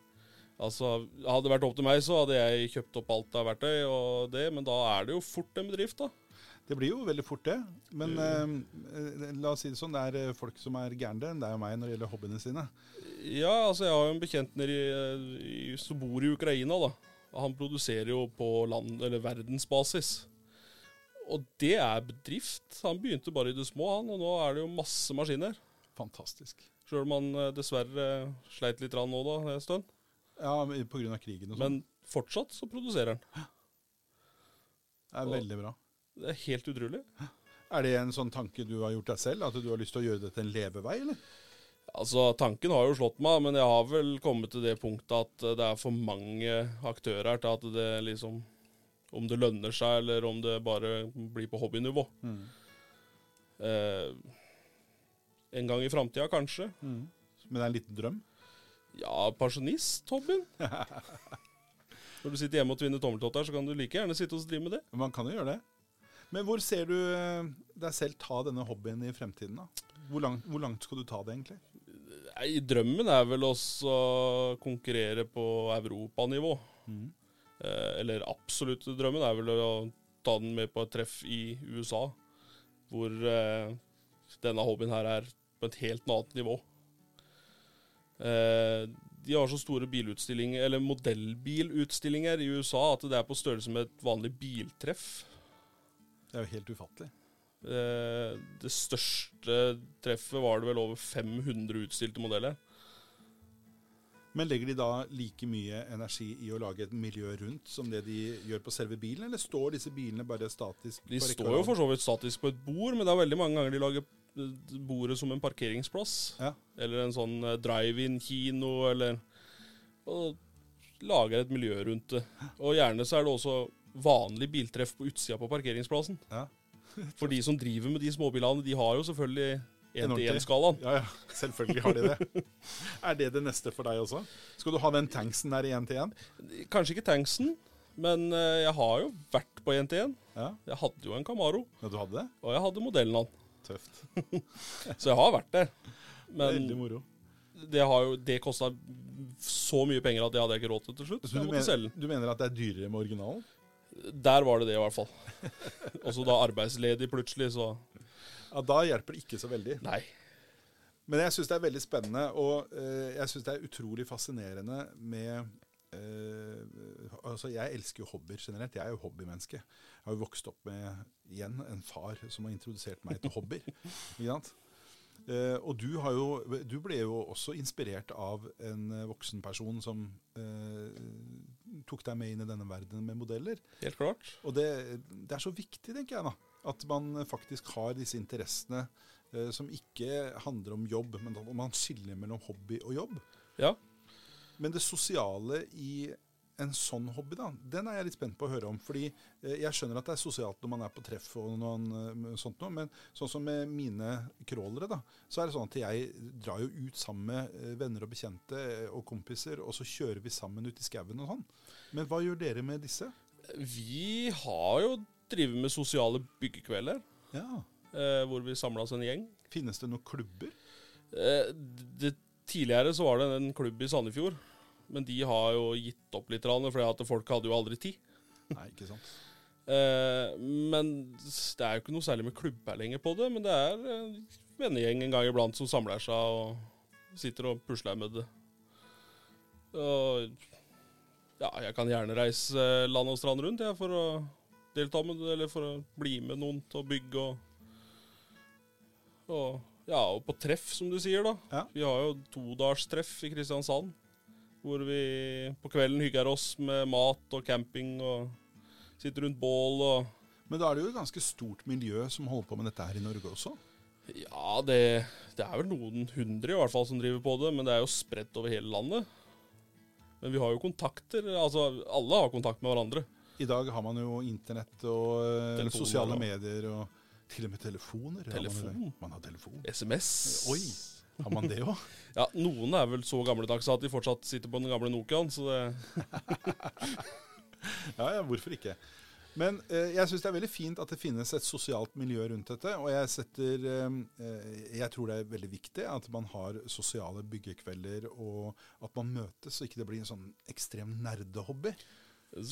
Speaker 2: Altså, Hadde det vært opp til meg, så hadde jeg kjøpt opp alt av verktøy, og det, men da er det jo fort en bedrift, da.
Speaker 1: Det blir jo veldig fort det. Men eh, eh, la oss si det sånn, det er eh, folk som er gærne. Det er jo meg når det gjelder hobbyene sine.
Speaker 2: Ja, altså jeg har jo en bekjent nede i, i, som bor i Ukraina, da. Han produserer jo på land, eller verdensbasis. Og det er bedrift. Han begynte bare i det små, han, og nå er det jo masse maskiner.
Speaker 1: Fantastisk.
Speaker 2: Sjøl om han eh, dessverre sleit litt rann nå, da, en stund.
Speaker 1: Ja, men på grunn av krigen og sånn.
Speaker 2: Men fortsatt så produserer han.
Speaker 1: Det er veldig bra.
Speaker 2: Det er helt utrolig.
Speaker 1: Er det en sånn tanke du har gjort deg selv? At du har lyst til å gjøre det til en levevei, eller?
Speaker 2: Altså, Tanken har jo slått meg, men jeg har vel kommet til det punktet at eh, det er for mange aktører til at det liksom Om det lønner seg, eller om det bare blir på hobbynivå. Eh, en gang i framtida, kanskje.
Speaker 1: Men det er en liten drøm?
Speaker 2: Ja, pensjonist-hobbyen. Når du sitter hjemme og tvinner tommeltotter, så kan du like gjerne sitte og drive med det.
Speaker 1: Man kan jo gjøre det. Men hvor ser du eh, deg selv ta denne hobbyen i fremtiden, da? Hvor langt, hvor langt skal du ta det, egentlig?
Speaker 2: Nei, drømmen er vel også å konkurrere på europanivå.
Speaker 1: Mhm.
Speaker 2: Eh, eller absolutt drømmen er vel å ta den med på et treff i USA, hvor eh, denne hobbyen her er på et helt annet nivå. Eh, de har så store bilutstillinger, eller modellbilutstillinger i USA at det er på størrelse med et vanlig biltreff.
Speaker 1: Det er jo helt ufattelig.
Speaker 2: Eh, det største treffet var det vel over 500 utstilte modeller.
Speaker 1: Men legger de da like mye energi i å lage et miljø rundt som det de gjør på selve bilen, eller står disse bilene bare statisk?
Speaker 2: De
Speaker 1: på rekke
Speaker 2: står
Speaker 1: og
Speaker 2: jo
Speaker 1: rad?
Speaker 2: for så vidt statisk på et bord, men det er veldig mange ganger de lager eh, bordet som en parkeringsplass.
Speaker 1: Ja.
Speaker 2: Eller en sånn eh, drive-in-kino, eller Og lager et miljø rundt det. Og gjerne så er det også vanlig biltreff på utsida på parkeringsplassen.
Speaker 1: Ja.
Speaker 2: [LAUGHS] For de som driver med de småbilene, de har jo selvfølgelig
Speaker 1: En ordentlig.
Speaker 2: 1-til-1-skalaen.
Speaker 1: Ja, ja. Selvfølgelig har de det. [LAUGHS] er det det neste for deg også? Skal du ha den tanksen der i én til én?
Speaker 2: Kanskje ikke tanksen, men eh, jeg har jo vært på 1-til-1.
Speaker 1: Ja.
Speaker 2: Jeg hadde jo en Camaro,
Speaker 1: ja, du hadde det?
Speaker 2: og jeg hadde modellen hans.
Speaker 1: Tøft.
Speaker 2: Så jeg har vært der. Men
Speaker 1: Veldig moro.
Speaker 2: det, har jo- det kosta så mye penger at det hadde jeg ikke råd til til slutt. Så
Speaker 1: Så
Speaker 2: jeg
Speaker 1: du,
Speaker 2: måtte
Speaker 1: mener,
Speaker 2: selge
Speaker 1: du mener at det er dyrere med originalen?
Speaker 2: den. Der var det det, i hvert fall. [LAUGHS] Og så da arbeidsledig plutselig, så
Speaker 1: Ja, Da hjelper det ikke så veldig.
Speaker 2: Nei.
Speaker 1: Men jeg syns det er veldig spennende, og eh, jeg syns det er utrolig fascinerende med eh, altså Jeg elsker jo hobbyer generelt. Jeg er jo hobbymenneske. Jeg har jo vokst opp med igjen en far som har introdusert meg til hobbyer. ikke sant? Eh, og du, har jo, du ble jo også inspirert av en eh, voksen person som eh, tok deg med inn i denne verdenen med modeller.
Speaker 2: Helt klart.
Speaker 1: Og det, det er så viktig, tenker jeg, da, at man faktisk har disse interessene eh, som ikke handler om jobb, men at man skiller mellom hobby og jobb.
Speaker 2: Ja.
Speaker 1: Men det sosiale i en sånn hobby, da, den er jeg litt spent på å høre om. Fordi eh, jeg skjønner at det er sosialt når man er på treff og noen eh, sånt noe, men sånn som med mine crawlere, da, så er det sånn at jeg drar jo ut sammen med eh, venner og bekjente eh, og kompiser, og så kjører vi sammen ut i skauen og sånn. Men hva gjør dere med disse?
Speaker 2: Vi har jo drevet med sosiale byggekvelder,
Speaker 1: Ja,
Speaker 2: eh, hvor vi samla oss en gjeng.
Speaker 1: Finnes det noen klubber?
Speaker 2: Eh, det, tidligere så var det en klubb i Sandefjord, men de har jo gitt opp litt, for at folk hadde jo aldri tid.
Speaker 1: Nei, ikke sant.
Speaker 2: Eh, men det er jo ikke noe særlig med klubber lenger på det, men det er en vennegjeng en gang iblant som samler seg og sitter og pusler med det. Og ja, jeg kan gjerne reise eh, land og strand rundt, jeg, for å delta med det, eller for å bli med noen til å bygge og Og ja, og på treff, som du sier, da.
Speaker 1: Ja.
Speaker 2: Vi har jo todagerstreff i Kristiansand. Hvor vi på kvelden hygger oss med mat og camping og Sitter rundt bål og
Speaker 1: Men da er det jo et ganske stort miljø som holder på med dette her i Norge også.
Speaker 2: Ja, det, det er vel noen hundre i hvert fall som driver på det, men det er jo spredt over hele landet. Men vi har jo kontakter. Altså, alle har kontakt med hverandre.
Speaker 1: I dag har man jo internett og eh,
Speaker 2: Telefoner
Speaker 1: sosiale
Speaker 2: og-
Speaker 1: medier og til og med telefoner. har man i
Speaker 2: Telefon?
Speaker 1: dag. Man har telefon.
Speaker 2: SMS.
Speaker 1: Oi, har man det òg?
Speaker 2: Ja, Noen er vel så gamledags at de fortsatt sitter på den gamle Nokiaen, så det
Speaker 1: [LAUGHS] Ja, ja, hvorfor ikke? Men eh, jeg syns det er veldig fint at det finnes et sosialt miljø rundt dette. Og jeg setter eh, eh, Jeg tror det er veldig viktig at man har sosiale byggekvelder, og at man møtes, så ikke det blir en sånn ekstrem nerdehobby.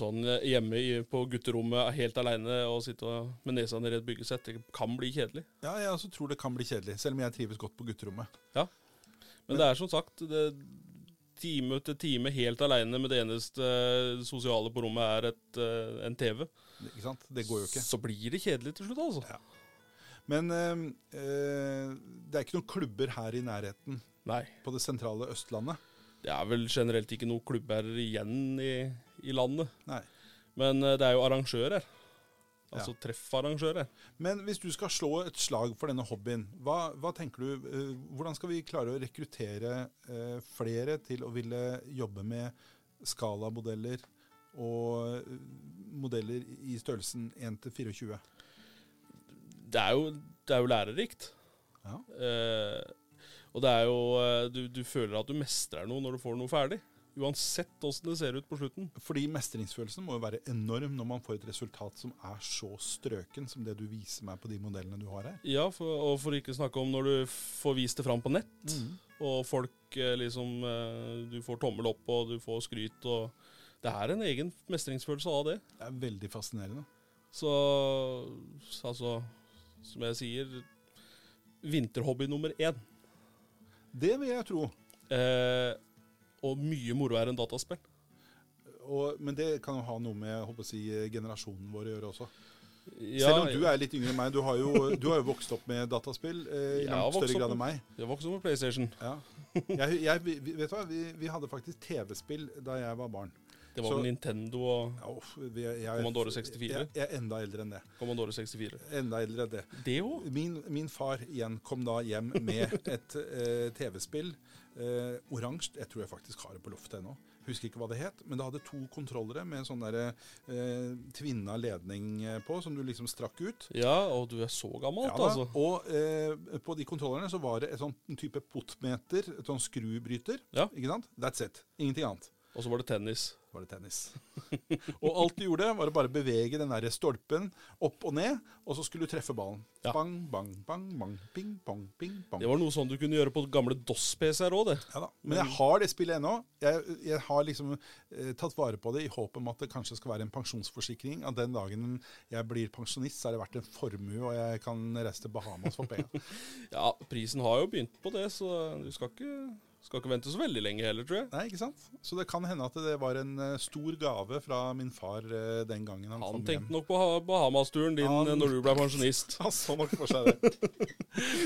Speaker 2: sånn hjemme i, på gutterommet helt aleine og sitte og- med nesa ned i et byggesett, det kan bli kjedelig.
Speaker 1: Ja, jeg også tror det kan bli kjedelig, selv om jeg trives godt på gutterommet.
Speaker 2: Men det er som sagt det, Time etter time helt aleine med det eneste eh, sosiale på rommet er et, eh, en TV.
Speaker 1: Ikke sant? Det går jo ikke.
Speaker 2: Så blir det kjedelig til slutt, altså.
Speaker 1: Men eh, eh, det er ikke noen klubber her i nærheten
Speaker 2: Nei.
Speaker 1: på det sentrale Østlandet.
Speaker 2: Det er vel generelt ikke noen klubber igjen i, i landet.
Speaker 1: Nei.
Speaker 2: Men eh, det er jo arrangører.
Speaker 1: Ja.
Speaker 2: Altså treffarrangører.
Speaker 1: Men hvis du skal slå et slag for denne hobbyen, hva, hva tenker du, eh, hvordan skal vi klare å rekruttere eh, flere til å ville jobbe med skalamodeller og eh, modeller i størrelsen 1 til 24?
Speaker 2: Det er jo, det er jo lærerikt.
Speaker 1: Ja.
Speaker 2: Eh, og det er jo eh, du, du føler at du mestrer noe når du får noe ferdig. Uansett åssen det ser ut på slutten.
Speaker 1: Fordi mestringsfølelsen må jo være enorm når man får et resultat som er så strøken som det du viser meg på de modellene du har her.
Speaker 2: Ja, for, og for ikke snakke om når du får vist det fram på nett,
Speaker 1: Mm.
Speaker 2: og folk eh, liksom eh, Du får tommel opp, og du får skryt, og Det er en egen mestringsfølelse av det.
Speaker 1: Det er veldig fascinerende.
Speaker 2: Så altså Som jeg sier Vinterhobby nummer én.
Speaker 1: Det vil jeg tro.
Speaker 2: Eh, og mye moro er en dataspill.
Speaker 1: Og, men det kan jo ha noe med jeg håper å si, generasjonen vår å gjøre også.
Speaker 2: Ja,
Speaker 1: Selv om du er litt yngre enn meg. Du har jo, du har jo vokst opp med dataspill eh, i
Speaker 2: Jeg har
Speaker 1: langt
Speaker 2: vokst
Speaker 1: større
Speaker 2: opp
Speaker 1: grad enn
Speaker 2: med-
Speaker 1: meg.
Speaker 2: Jeg vokste opp med PlayStation.
Speaker 1: Ja. Jeg, jeg, vi- vi- vet du hva? Vi, vi hadde faktisk TV-spill da jeg var barn.
Speaker 2: Det var
Speaker 1: Så-
Speaker 2: vel Nintendo og
Speaker 1: Ja, uff, vi- jeg,
Speaker 2: Commodore 64.
Speaker 1: Jeg, jeg er enda eldre enn det.
Speaker 2: Commodore 64.
Speaker 1: Enda eldre enn det.
Speaker 2: Det òg?
Speaker 1: Min, min far igjen kom da hjem
Speaker 2: [LAUGHS]
Speaker 1: med et eh, TV-spill. Eh, Oransje. Jeg tror jeg faktisk har det på loftet ennå. Husker ikke hva det het. Men det hadde to kontrollere med sånn derre eh, tvinna ledning eh, på, som du liksom strakk ut.
Speaker 2: Ja, og du er så gammel,
Speaker 1: Ja da,
Speaker 2: altså.
Speaker 1: Og eh, på de kontrollerne så var det et sånn type potmeter, et sånn skrubryter.
Speaker 2: Ja.
Speaker 1: Ikke sant? That's it. Ingenting annet.
Speaker 2: Og så var det tennis.
Speaker 1: Så var det tennis. [LAUGHS] og alt du gjorde, var å bare bevege den der stolpen opp og ned, og så skulle du treffe ballen.
Speaker 2: Ja.
Speaker 1: Bang, bang, bang, bang, ping, pong, ping, pong.
Speaker 2: Det var noe sånn du kunne gjøre på gamle DOS-PC-er òg, det.
Speaker 1: Ja da. Men jeg har det spillet ennå. Jeg, jeg har liksom eh, tatt vare på det i håp om at det kanskje skal være en pensjonsforsikring. At den dagen jeg blir pensjonist, så er det verdt en formue, og jeg kan reise til Bahamas for [LAUGHS] penga.
Speaker 2: Ja, prisen har jo begynt på det, så du skal ikke, skal ikke vente så veldig lenge heller, tror jeg.
Speaker 1: Nei, ikke sant? Så det kan hende at det var en eh, stor gave fra min far eh, den gangen han,
Speaker 2: Han
Speaker 1: kom hjem.
Speaker 2: tenkte nok på Ha- Bahamas-turen din
Speaker 1: Han-
Speaker 2: eh, når du ble [LAUGHS] pensjonist.
Speaker 1: Han så nok for seg det. [LAUGHS]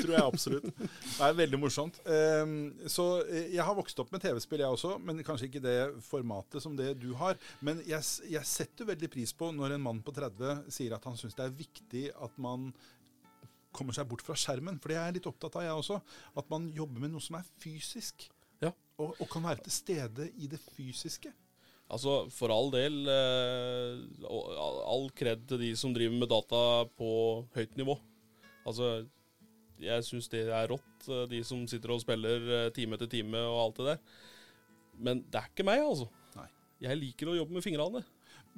Speaker 1: Tror jeg absolutt. Det er veldig morsomt. Ehm, Så eh, jeg har vokst opp med TV-spill, jeg også, men kanskje ikke det formatet som det du har. Men jeg, s- jeg setter veldig pris på når en mann på 30 sier at han syns det er viktig at man kommer seg bort fra skjermen, for det er jeg litt opptatt av, jeg også. At man jobber med noe som er fysisk.
Speaker 2: Ja.
Speaker 1: Og, og kan være til stede i det fysiske.
Speaker 2: Altså, for all del eh, og all- All kred til de som driver med data på høyt nivå. Altså, jeg syns det er rått, eh, de som sitter og spiller eh, time etter time og alt det der. Men det er ikke meg, altså.
Speaker 1: Nei.
Speaker 2: Jeg liker å jobbe med fingrene.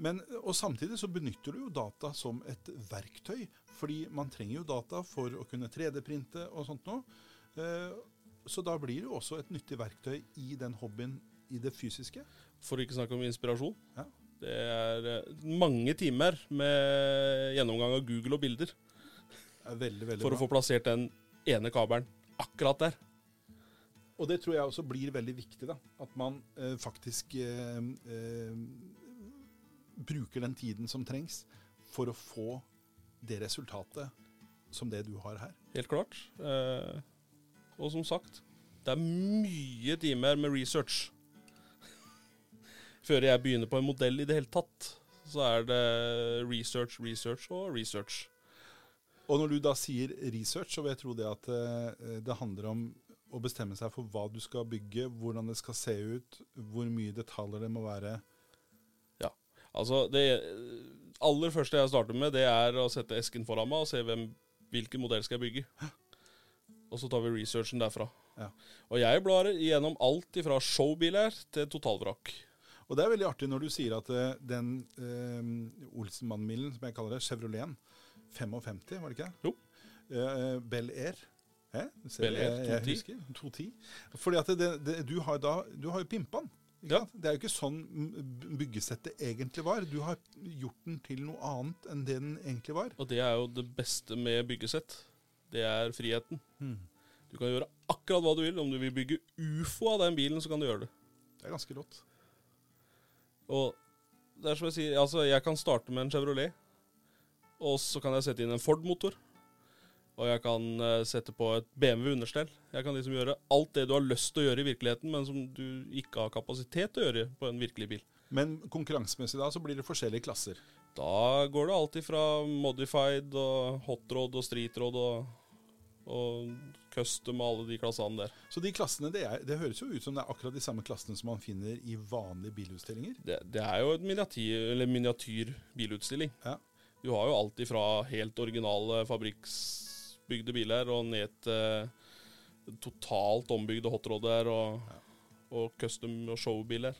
Speaker 1: Men, og samtidig så benytter du jo data som et verktøy, fordi man trenger jo data for å kunne 3D-printe og sånt noe. Eh, Så da blir det jo også et nyttig verktøy i den hobbyen i det fysiske.
Speaker 2: For å ikke snakke om inspirasjon.
Speaker 1: Ja.
Speaker 2: Det er eh, mange timer med gjennomgang av Google og bilder
Speaker 1: Det er veldig, veldig
Speaker 2: for å
Speaker 1: bra.
Speaker 2: få plassert den ene kabelen akkurat der.
Speaker 1: Og det tror jeg også blir veldig viktig, da. At man eh, faktisk eh, eh, bruker den tiden som trengs for å få det resultatet som det du har her.
Speaker 2: Helt klart. Eh, og som sagt, det er mye timer med research. [LAUGHS] Før jeg begynner på en modell i det hele tatt, så er det research, research og research.
Speaker 1: Og når du da sier research, så vil jeg tro det at eh, det handler om å bestemme seg for hva du skal bygge, hvordan det skal se ut, hvor mye detaljer det må være.
Speaker 2: Altså, det aller første jeg starter med, det er å sette esken foran meg og se hvem, hvilken modell skal jeg bygge. Og så tar vi researchen derfra.
Speaker 1: Ja.
Speaker 2: Og jeg blar igjennom alt ifra showbiler til totalvrak.
Speaker 1: Og det er veldig artig når du sier at eh, den eh, Olsenmann-milen, som jeg kaller det, Chevroleten 55, var det ikke det?
Speaker 2: Jo.
Speaker 1: Eh, Bel Air. Hæ? Du ser
Speaker 2: Bel Air
Speaker 1: jeg- jeg
Speaker 2: 210.
Speaker 1: husker. 210. Fordi at det, det, du har da Du har jo pimpa den. ikke
Speaker 2: Ja.
Speaker 1: sant? Det er jo ikke sånn mm, byggesettet egentlig var. Du har gjort den til noe annet enn det den egentlig var.
Speaker 2: Og det er jo det beste med byggesett. Det er friheten. Du kan gjøre akkurat hva du vil. Om du vil bygge ufo av den bilen, så kan du gjøre det.
Speaker 1: Det er ganske rått.
Speaker 2: Og det er som jeg sier, altså jeg kan starte med en Chevrolet, og så kan jeg sette inn en Ford-motor, og jeg kan eh, sette på et BMW-understell. Jeg kan liksom gjøre alt det du har lyst til å gjøre i virkeligheten, men som du ikke har kapasitet til å gjøre på en virkelig bil.
Speaker 1: Men konkurransemessig da, så blir det forskjellige klasser.
Speaker 2: Da går det alltid fra modified og hotrod og streetrod og, og custom og alle de klassene der.
Speaker 1: Så de klassene, det, er, det høres jo ut som det er akkurat de samme klassene som man finner i vanlige bilutstillinger.
Speaker 2: Det, det er jo en miniatyr, eller miniatyr bilutstilling.
Speaker 1: Ja.
Speaker 2: Du har jo alt ifra helt originale fabrikksbygde biler og ned til eh, totalt ombygde hotroder og, og custom og showbiler.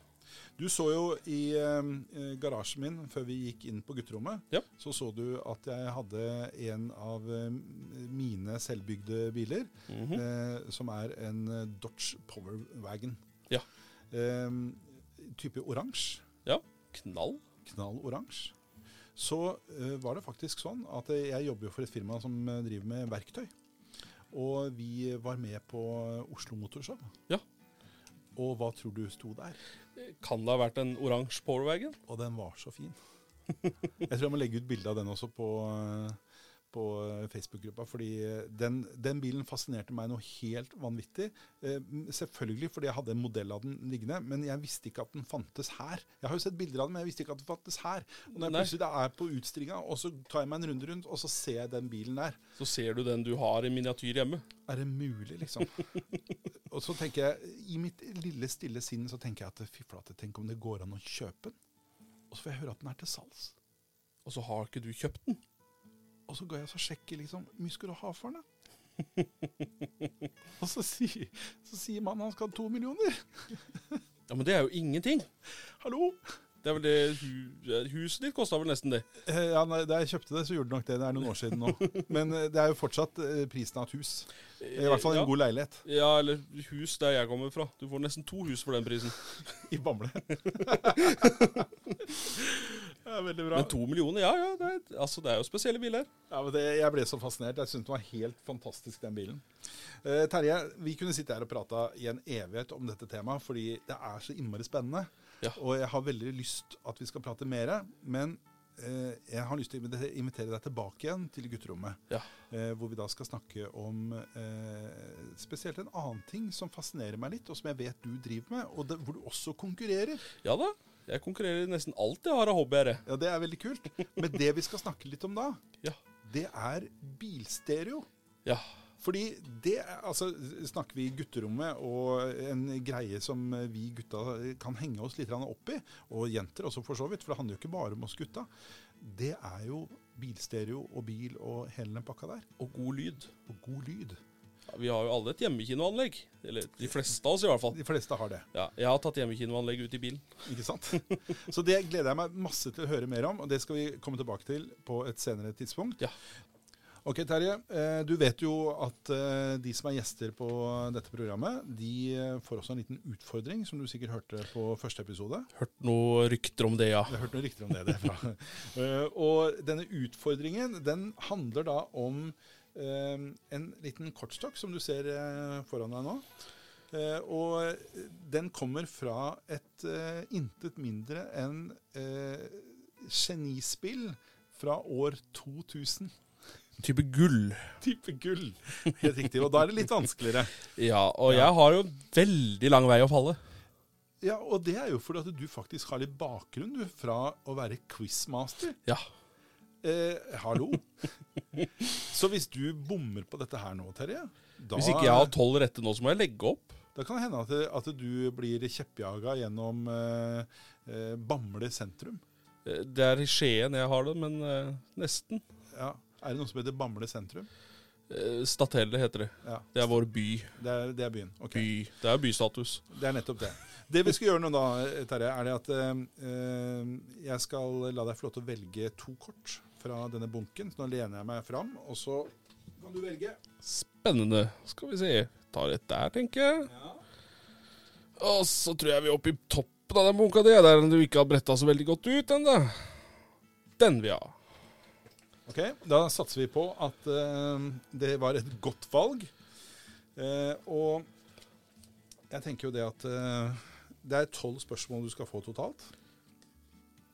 Speaker 1: Du så jo i eh, garasjen min, før vi gikk inn på gutterommet,
Speaker 2: Ja.
Speaker 1: så så du at jeg hadde en av eh, mine selvbygde biler,
Speaker 2: Mhm.
Speaker 1: eh, som er en eh, Dodge Power Wagon.
Speaker 2: Ja.
Speaker 1: Eh, type oransje.
Speaker 2: Eh, Knall.
Speaker 1: knalloransje, så eh, var det faktisk sånn at eh, jeg jobber jo for et firma som eh, driver med verktøy. Og vi var med på Oslo Motorshow.
Speaker 2: Ja.
Speaker 1: Og hva tror du sto der?
Speaker 2: Kan det ha vært en oransje Powerwagon?
Speaker 1: Og den var så fin. Jeg tror jeg må legge ut bilde av den også på, eh, på eh, Facebook-gruppa. Fordi eh, den, den bilen fascinerte meg noe helt vanvittig. Eh, m- Selvfølgelig fordi jeg hadde en modell av den liggende, men jeg visste ikke at den fantes her. Jeg har jo sett bilder av den, men jeg visste ikke at den fantes her. Og når jeg
Speaker 2: Nei.
Speaker 1: plutselig da er på utstillinga, og så tar jeg meg en runde rundt, og så ser jeg den bilen der.
Speaker 2: Så ser du den du har i miniatyr hjemme.
Speaker 1: Er det mulig, liksom? og så tenker jeg, i mitt lille, stille sinn, så tenker jeg at fy flate, tenk om det går an å kjøpe den? Og så får jeg høre at den er til salgs.
Speaker 2: Og så har ikke du kjøpt den.
Speaker 1: Og så går jeg og så sjekker liksom, hvor mye skal du ha for den? da? [LAUGHS] og så sier, så sier mannen han skal ha to millioner.
Speaker 2: Ja, Men det er jo ingenting.
Speaker 1: Hallo?
Speaker 2: Det er vel det hu Huset ditt kosta vel nesten det.
Speaker 1: Eh, Ja, nei, Da jeg kjøpte det, så gjorde det nok det. Det er noen år [LAUGHS] siden nå. Men eh, det er jo fortsatt eh, prisen av et hus. Eh, I hvert fall en
Speaker 2: ja.
Speaker 1: god leilighet
Speaker 2: Ja, eller hus der jeg kommer fra. Du får nesten to hus for den prisen.
Speaker 1: i [LAUGHS] Bamble. det er veldig bra.
Speaker 2: Men to millioner, ja ja. Det er, altså, det er jo spesielle biler.
Speaker 1: Ja, men det, jeg ble så fascinert. Jeg syntes den var helt fantastisk, den bilen. Eh, Terje, vi kunne sitte her og prata i en evighet om dette temaet, fordi det er så innmari spennende.
Speaker 2: Ja.
Speaker 1: Og jeg har veldig lyst at vi skal prate mer, men eh, jeg har lyst til å invite- invitere deg tilbake igjen til gutterommet.
Speaker 2: Ja.
Speaker 1: eh, hvor vi da skal snakke om eh, spesielt en annen ting som fascinerer meg litt, og som jeg vet du driver med, og det, hvor du også konkurrerer.
Speaker 2: Ja da. Jeg konkurrerer i nesten alt jeg har av hobbyer. jeg.
Speaker 1: Ja, Det er veldig kult. Men det vi skal snakke litt om da,
Speaker 2: Ja.
Speaker 1: det er bilstereo.
Speaker 2: ja.
Speaker 1: Fordi det er- altså, Snakker vi gutterommet og en greie som vi gutta kan henge oss litt grann opp i, og jenter også for så vidt, for det handler jo ikke bare om oss gutta, det er jo bilstereo og bil og hele den pakka der.
Speaker 2: Og god lyd.
Speaker 1: Og god lyd.
Speaker 2: Ja, vi har jo alle et hjemmekinoanlegg. Eller de fleste av oss, i hvert fall.
Speaker 1: De fleste har det.
Speaker 2: Ja, jeg har tatt hjemmekinoanlegg ut i bilen.
Speaker 1: Ikke sant? [LAUGHS] Så det gleder jeg meg masse til å høre mer om, og det skal vi komme tilbake til på et senere tidspunkt.
Speaker 2: Ja.
Speaker 1: Ok, Terje. eh, Du vet jo at eh, de som er gjester på dette programmet, de eh, får også en liten utfordring, som du sikkert hørte på første episode.
Speaker 2: Hørt noen rykter om det, ja.
Speaker 1: Jeg har hørt noen rykter om det derfra. Eh, og denne utfordringen, den handler da om eh, en liten kortstokk som du ser eh, foran deg nå. Eh, og den kommer fra et eh, intet mindre enn eh, genispill fra år 2000.
Speaker 2: Type gull.
Speaker 1: Type gull. Helt riktig. Og da er det litt vanskeligere.
Speaker 2: Ja, og jeg har jo veldig lang vei å falle.
Speaker 1: Ja, Og det er jo fordi at du faktisk har litt bakgrunn du, fra å være quizmaster.
Speaker 2: Ja.
Speaker 1: Eh, hallo? Så hvis du bommer på dette her nå, Terje da,
Speaker 2: Hvis ikke jeg har tolv rette nå, så må jeg legge opp.
Speaker 1: da kan det hende at, at du blir kjeppjaga gjennom eh, eh, Bamble sentrum.
Speaker 2: Eh, Det er i Skien jeg har det, men eh, nesten.
Speaker 1: Ja. Er det noe som heter Bamble sentrum?
Speaker 2: Eh, Stathelle heter det.
Speaker 1: Ja,
Speaker 2: Det er vår by.
Speaker 1: Det er, det er byen. Ok.
Speaker 2: by. Det er bystatus.
Speaker 1: Det er nettopp det. Det vi skal gjøre nå da, Terje, er det at eh, jeg skal la deg få lov til å velge to kort fra denne bunken. Så nå lener jeg meg fram, og så kan du velge.
Speaker 2: Spennende. Skal vi se. Tar et der, tenker jeg.
Speaker 1: Ja.
Speaker 2: Og så tror jeg vi er oppe i toppen av den bunka di, der du ikke har bretta så veldig godt ut ennå. Den vil jeg ha.
Speaker 1: Ok, da satser vi på at eh, det var et godt valg. Eh, og jeg tenker jo det at eh, det er tolv spørsmål du skal få totalt.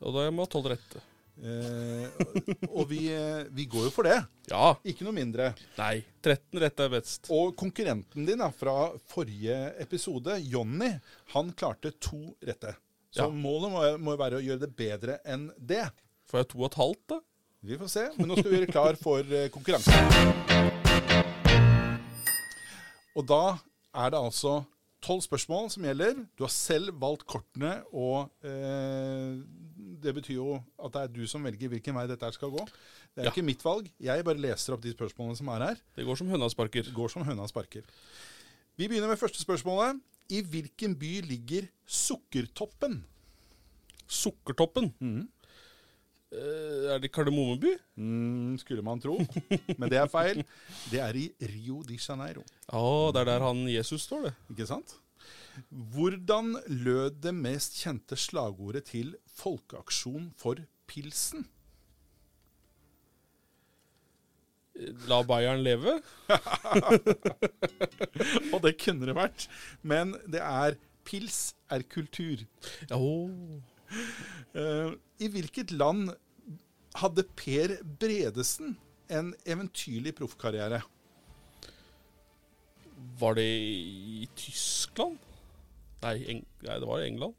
Speaker 2: Og da må jeg ha tolv rette.
Speaker 1: Eh, og vi, eh, vi går jo for det.
Speaker 2: Ja.
Speaker 1: Ikke noe mindre.
Speaker 2: Nei. 13 rette er best.
Speaker 1: Og konkurrenten din da, fra forrige episode, Jonny, han klarte to rette. Så
Speaker 2: Ja.
Speaker 1: målet må, må være å gjøre det bedre enn det.
Speaker 2: Får jeg to og et halvt, da?
Speaker 1: Vi får se, men nå skal vi gjøre klar for eh, konkurransen. Og da er det altså tolv spørsmål som gjelder. Du har selv valgt kortene, og eh, det betyr jo at det er du som velger hvilken vei dette her skal gå. Det er
Speaker 2: Ja.
Speaker 1: jo ikke mitt valg. Jeg bare leser opp de spørsmålene som er her.
Speaker 2: Det går som høna sparker.
Speaker 1: Går som høna sparker. Vi begynner med første spørsmålet. I hvilken by ligger Sukkertoppen?
Speaker 2: Sukkertoppen. Eh, er det Kardemommeby?
Speaker 1: Mm, skulle man [LAUGHS] tro, men det er feil. Det er i Rio de Janeiro.
Speaker 2: Ja, det er der han Jesus står, det.
Speaker 1: Ikke sant? Hvordan lød det mest kjente slagordet til folkeaksjon for pilsen? [LAUGHS]
Speaker 2: Eh, La Bayern leve.
Speaker 1: Og det kunne det vært, men det er 'pils er kultur'.
Speaker 2: Ja, å.
Speaker 1: Eh, I hvilket land hadde Per Bredesen en eventyrlig proffkarriere?
Speaker 2: Var det i Tyskland? Nei, Eng Nei det var i England.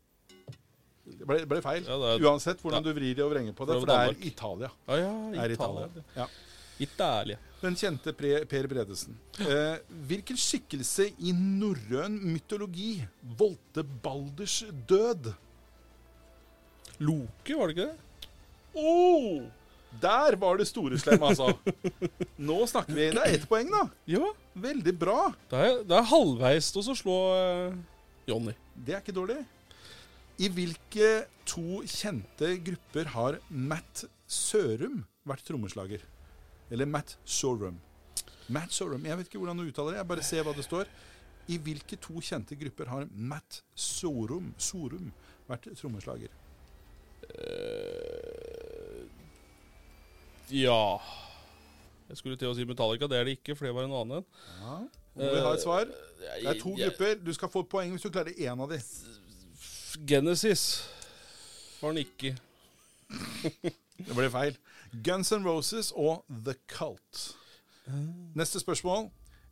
Speaker 1: Det ble, ble feil.
Speaker 2: Ja, det er-
Speaker 1: Uansett hvordan du vrir og vrenger på det,
Speaker 2: Det er
Speaker 1: for det er
Speaker 2: Danmark.
Speaker 1: Italia.
Speaker 2: Ja, Ah, ja,
Speaker 1: Det
Speaker 2: Italia.
Speaker 1: er Italia. Ja.
Speaker 2: Italia.
Speaker 1: Den kjente pre Per Bredesen. Eh, hvilken skikkelse i norrøn mytologi voldte Balders død?
Speaker 2: Loke, var det ikke det?
Speaker 1: Oh! Der var det store slem, altså. Nå snakker vi. Det er ett poeng, da.
Speaker 2: Ja.
Speaker 1: Veldig bra.
Speaker 2: Det er, det er halvveis til å slå eh, Johnny.
Speaker 1: Det er ikke dårlig. I hvilke to kjente grupper har Matt Sørum vært trommeslager? Eller Matt Sorum. Matt Sorum. Jeg vet ikke hvordan du uttaler det. Jeg bare ser hva det står. I hvilke to kjente grupper har Matt Sorum, Sorum vært trommeslager?
Speaker 2: Ja Jeg skulle til å si Metallica. Det er det ikke, for det var en annen en.
Speaker 1: Ja. Må vi ha et svar? Det er to
Speaker 2: Jeg-
Speaker 1: grupper. Du skal få et poeng hvis du klarer én av de.
Speaker 2: Genesis var den ikke.
Speaker 1: Det ble feil. Guns N' Roses og The Cult. Neste spørsmål.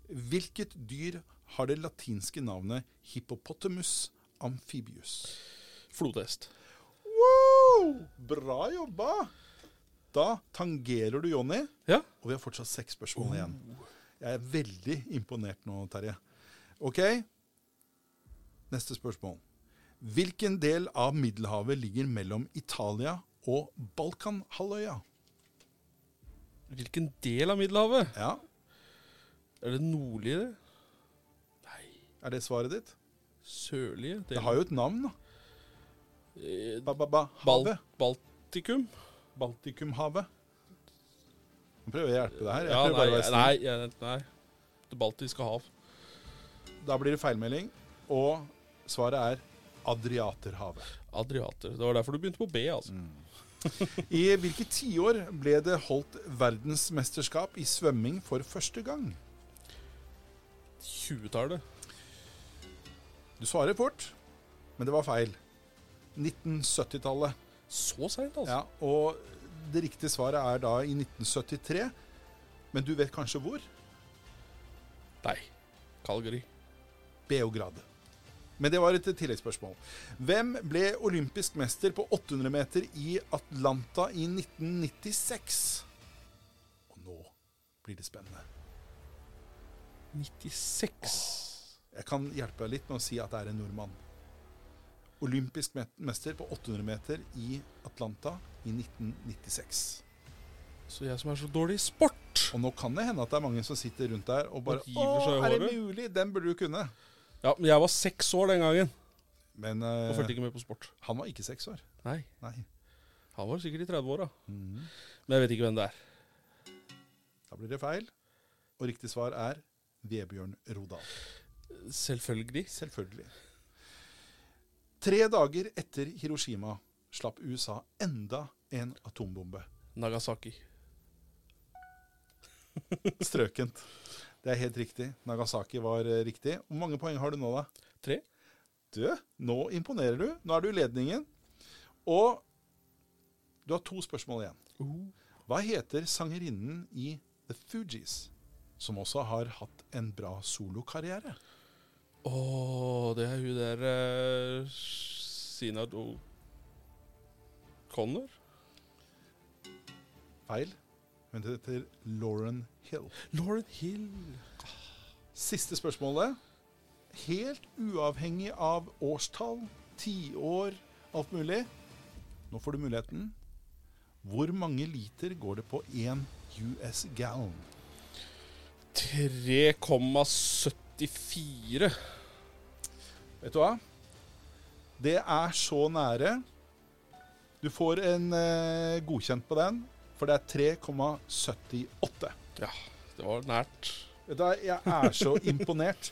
Speaker 1: Hvilket dyr har det latinske navnet hippopotamus amphibius?
Speaker 2: Flodhest.
Speaker 1: Wow! Bra jobba! Da tangerer du Jonny,
Speaker 2: Ja.
Speaker 1: og vi har fortsatt seks spørsmål igjen. Jeg er veldig imponert nå, Terje. OK, neste spørsmål. Hvilken del av Middelhavet ligger mellom Italia og Balkanhalvøya?
Speaker 2: Hvilken del av Middelhavet?
Speaker 1: Ja,
Speaker 2: Er det nordlige? Nei,
Speaker 1: er det svaret ditt?
Speaker 2: sørlige?
Speaker 1: Det har jo et navn, da.
Speaker 2: Eh, Bal
Speaker 1: Ba-ba-ba-havet.
Speaker 2: Baltikum?
Speaker 1: Baltikumhavet. Nå prøver jeg å hjelpe deg her. Jeg
Speaker 2: Ja,
Speaker 1: prøver
Speaker 2: nei,
Speaker 1: bare å være snill.
Speaker 2: nei, jeg- nei. Det baltiske hav.
Speaker 1: Da blir det feilmelding, og svaret er Adriaterhavet.
Speaker 2: Adriater. Det var derfor du begynte på B, altså.
Speaker 1: I hvilke tiår ble det holdt verdensmesterskap i svømming for første gang?
Speaker 2: 20-tallet.
Speaker 1: Du svarer fort, men det var feil. 1970-tallet.
Speaker 2: Så seint, altså.
Speaker 1: Ja, og det riktige svaret er da i 1973. Men du vet kanskje hvor?
Speaker 2: Nei. Calgary.
Speaker 1: Beograd. Men det var et tilleggsspørsmål. Hvem ble olympisk mester på 800 meter i Atlanta i 1996? Og nå blir det spennende.
Speaker 2: 96.
Speaker 1: Jeg kan hjelpe deg litt med å si at det er en nordmann. Olympisk me- mester på 800 meter i Atlanta i 1996.
Speaker 2: Så jeg som er så dårlig i sport.
Speaker 1: Og nå kan det hende at det er mange som sitter rundt der og bare
Speaker 2: Og hiver
Speaker 1: Å,
Speaker 2: seg i
Speaker 1: er det
Speaker 2: håret?»
Speaker 1: mulig? Den burde du kunne.
Speaker 2: Ja, men jeg var seks år den gangen
Speaker 1: Men
Speaker 2: og
Speaker 1: eh,
Speaker 2: fulgte ikke med på sport.
Speaker 1: han var ikke seks år.
Speaker 2: Nei,
Speaker 1: Nei.
Speaker 2: han var sikkert i 30-åra.
Speaker 1: Mhm.
Speaker 2: Men jeg vet ikke hvem det er.
Speaker 1: Da blir det feil. Og riktig svar er Vebjørn Rodal.
Speaker 2: Selvfølgelig.
Speaker 1: Selvfølgelig. Tre dager etter Hiroshima slapp USA enda en atombombe.
Speaker 2: Nagasaki.
Speaker 1: Strøkent. Det er helt riktig. Nagasaki var eh, riktig. Hvor mange poeng har du nå, da?
Speaker 2: Tre.
Speaker 1: Du, nå imponerer du. Nå er du i ledningen. Og du har to spørsmål igjen.
Speaker 2: Uh.
Speaker 1: Hva heter sangerinnen i The Fugees, som også har hatt en bra solokarriere?
Speaker 2: Å, det er hun der eh, Sina Do... Connor?
Speaker 1: Feil. Hun heter Lauren Hill.
Speaker 2: Lauren Hill.
Speaker 1: Siste spørsmålet. Helt uavhengig av årstall, tiår, alt mulig. Nå får du muligheten. Hvor mange liter går det på én US gallon?
Speaker 2: 3,74.
Speaker 1: Vet du hva? Det er så nære. Du får en eh, godkjent på den, for det er 3,78.
Speaker 2: Ja, det var nært.
Speaker 1: Vet du hva, jeg er så imponert.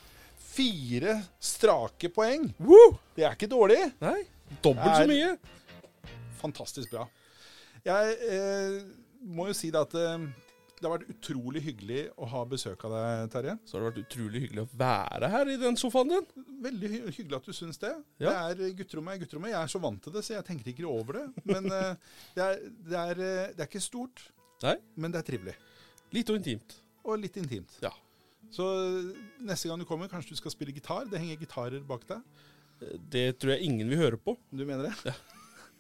Speaker 1: Fire strake poeng. Det er ikke dårlig.
Speaker 2: Nei, dobbelt
Speaker 1: Er-
Speaker 2: så mye.
Speaker 1: Fantastisk bra. Jeg eh, må jo si det at eh, det har vært utrolig hyggelig å ha besøk av deg, Terje.
Speaker 2: Så har det vært utrolig hyggelig å være her i den sofaen din.
Speaker 1: Veldig hy hyggelig at du syns det.
Speaker 2: Ja.
Speaker 1: Det er eh, gutterommet er gutterommet. Jeg er så vant til det, så jeg tenker ikke over det. Men eh, [LAUGHS] det, er, det, er, eh, det er ikke stort,
Speaker 2: Nei,
Speaker 1: men det er trivelig.
Speaker 2: litt og intimt.
Speaker 1: Og litt intimt.
Speaker 2: Ja.
Speaker 1: Så eh, neste gang du kommer, kanskje du skal spille gitar. Det henger gitarer bak deg.
Speaker 2: Det tror jeg ingen vil høre på.
Speaker 1: Du mener det?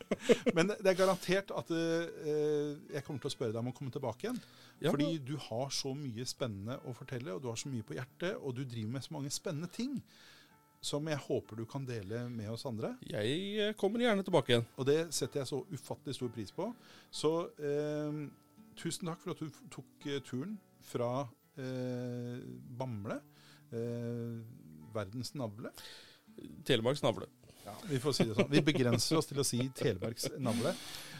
Speaker 1: [LAUGHS] Men det er garantert at eh, jeg kommer til å spørre deg om å komme tilbake igjen.
Speaker 2: Ja,
Speaker 1: fordi du har så mye spennende å fortelle, og du har så mye på hjertet, og du driver med så mange spennende ting som jeg håper du kan dele med oss andre.
Speaker 2: Jeg eh, kommer gjerne tilbake igjen.
Speaker 1: Og det setter jeg så ufattelig stor pris på. Så eh, tusen takk for at du f- tok eh, turen fra eh, Bamble, eh, verdens navle.
Speaker 2: Telemarks navle.
Speaker 1: Ja, vi får si det sånn. Vi begrenser oss til å si Telemarks navle.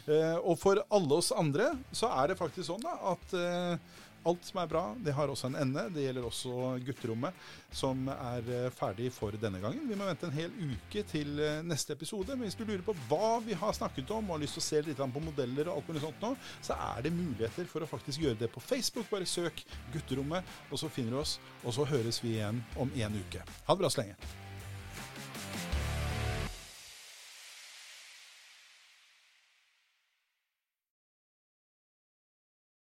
Speaker 1: Eh, og for alle oss andre så er det faktisk sånn da, at eh, alt som er bra, det har også en ende. Det gjelder også gutterommet, som er eh, ferdig for denne gangen. Vi må vente en hel uke til eh, neste episode. Men hvis du lurer på hva vi har snakket om, og har lyst til å se litt grann på modeller og alt mulig sånt nå, så er det muligheter for å faktisk gjøre det på Facebook. Bare søk 'Gutterommet', og så finner du oss. Og så høres vi igjen om en uke. Ha det bra så lenge.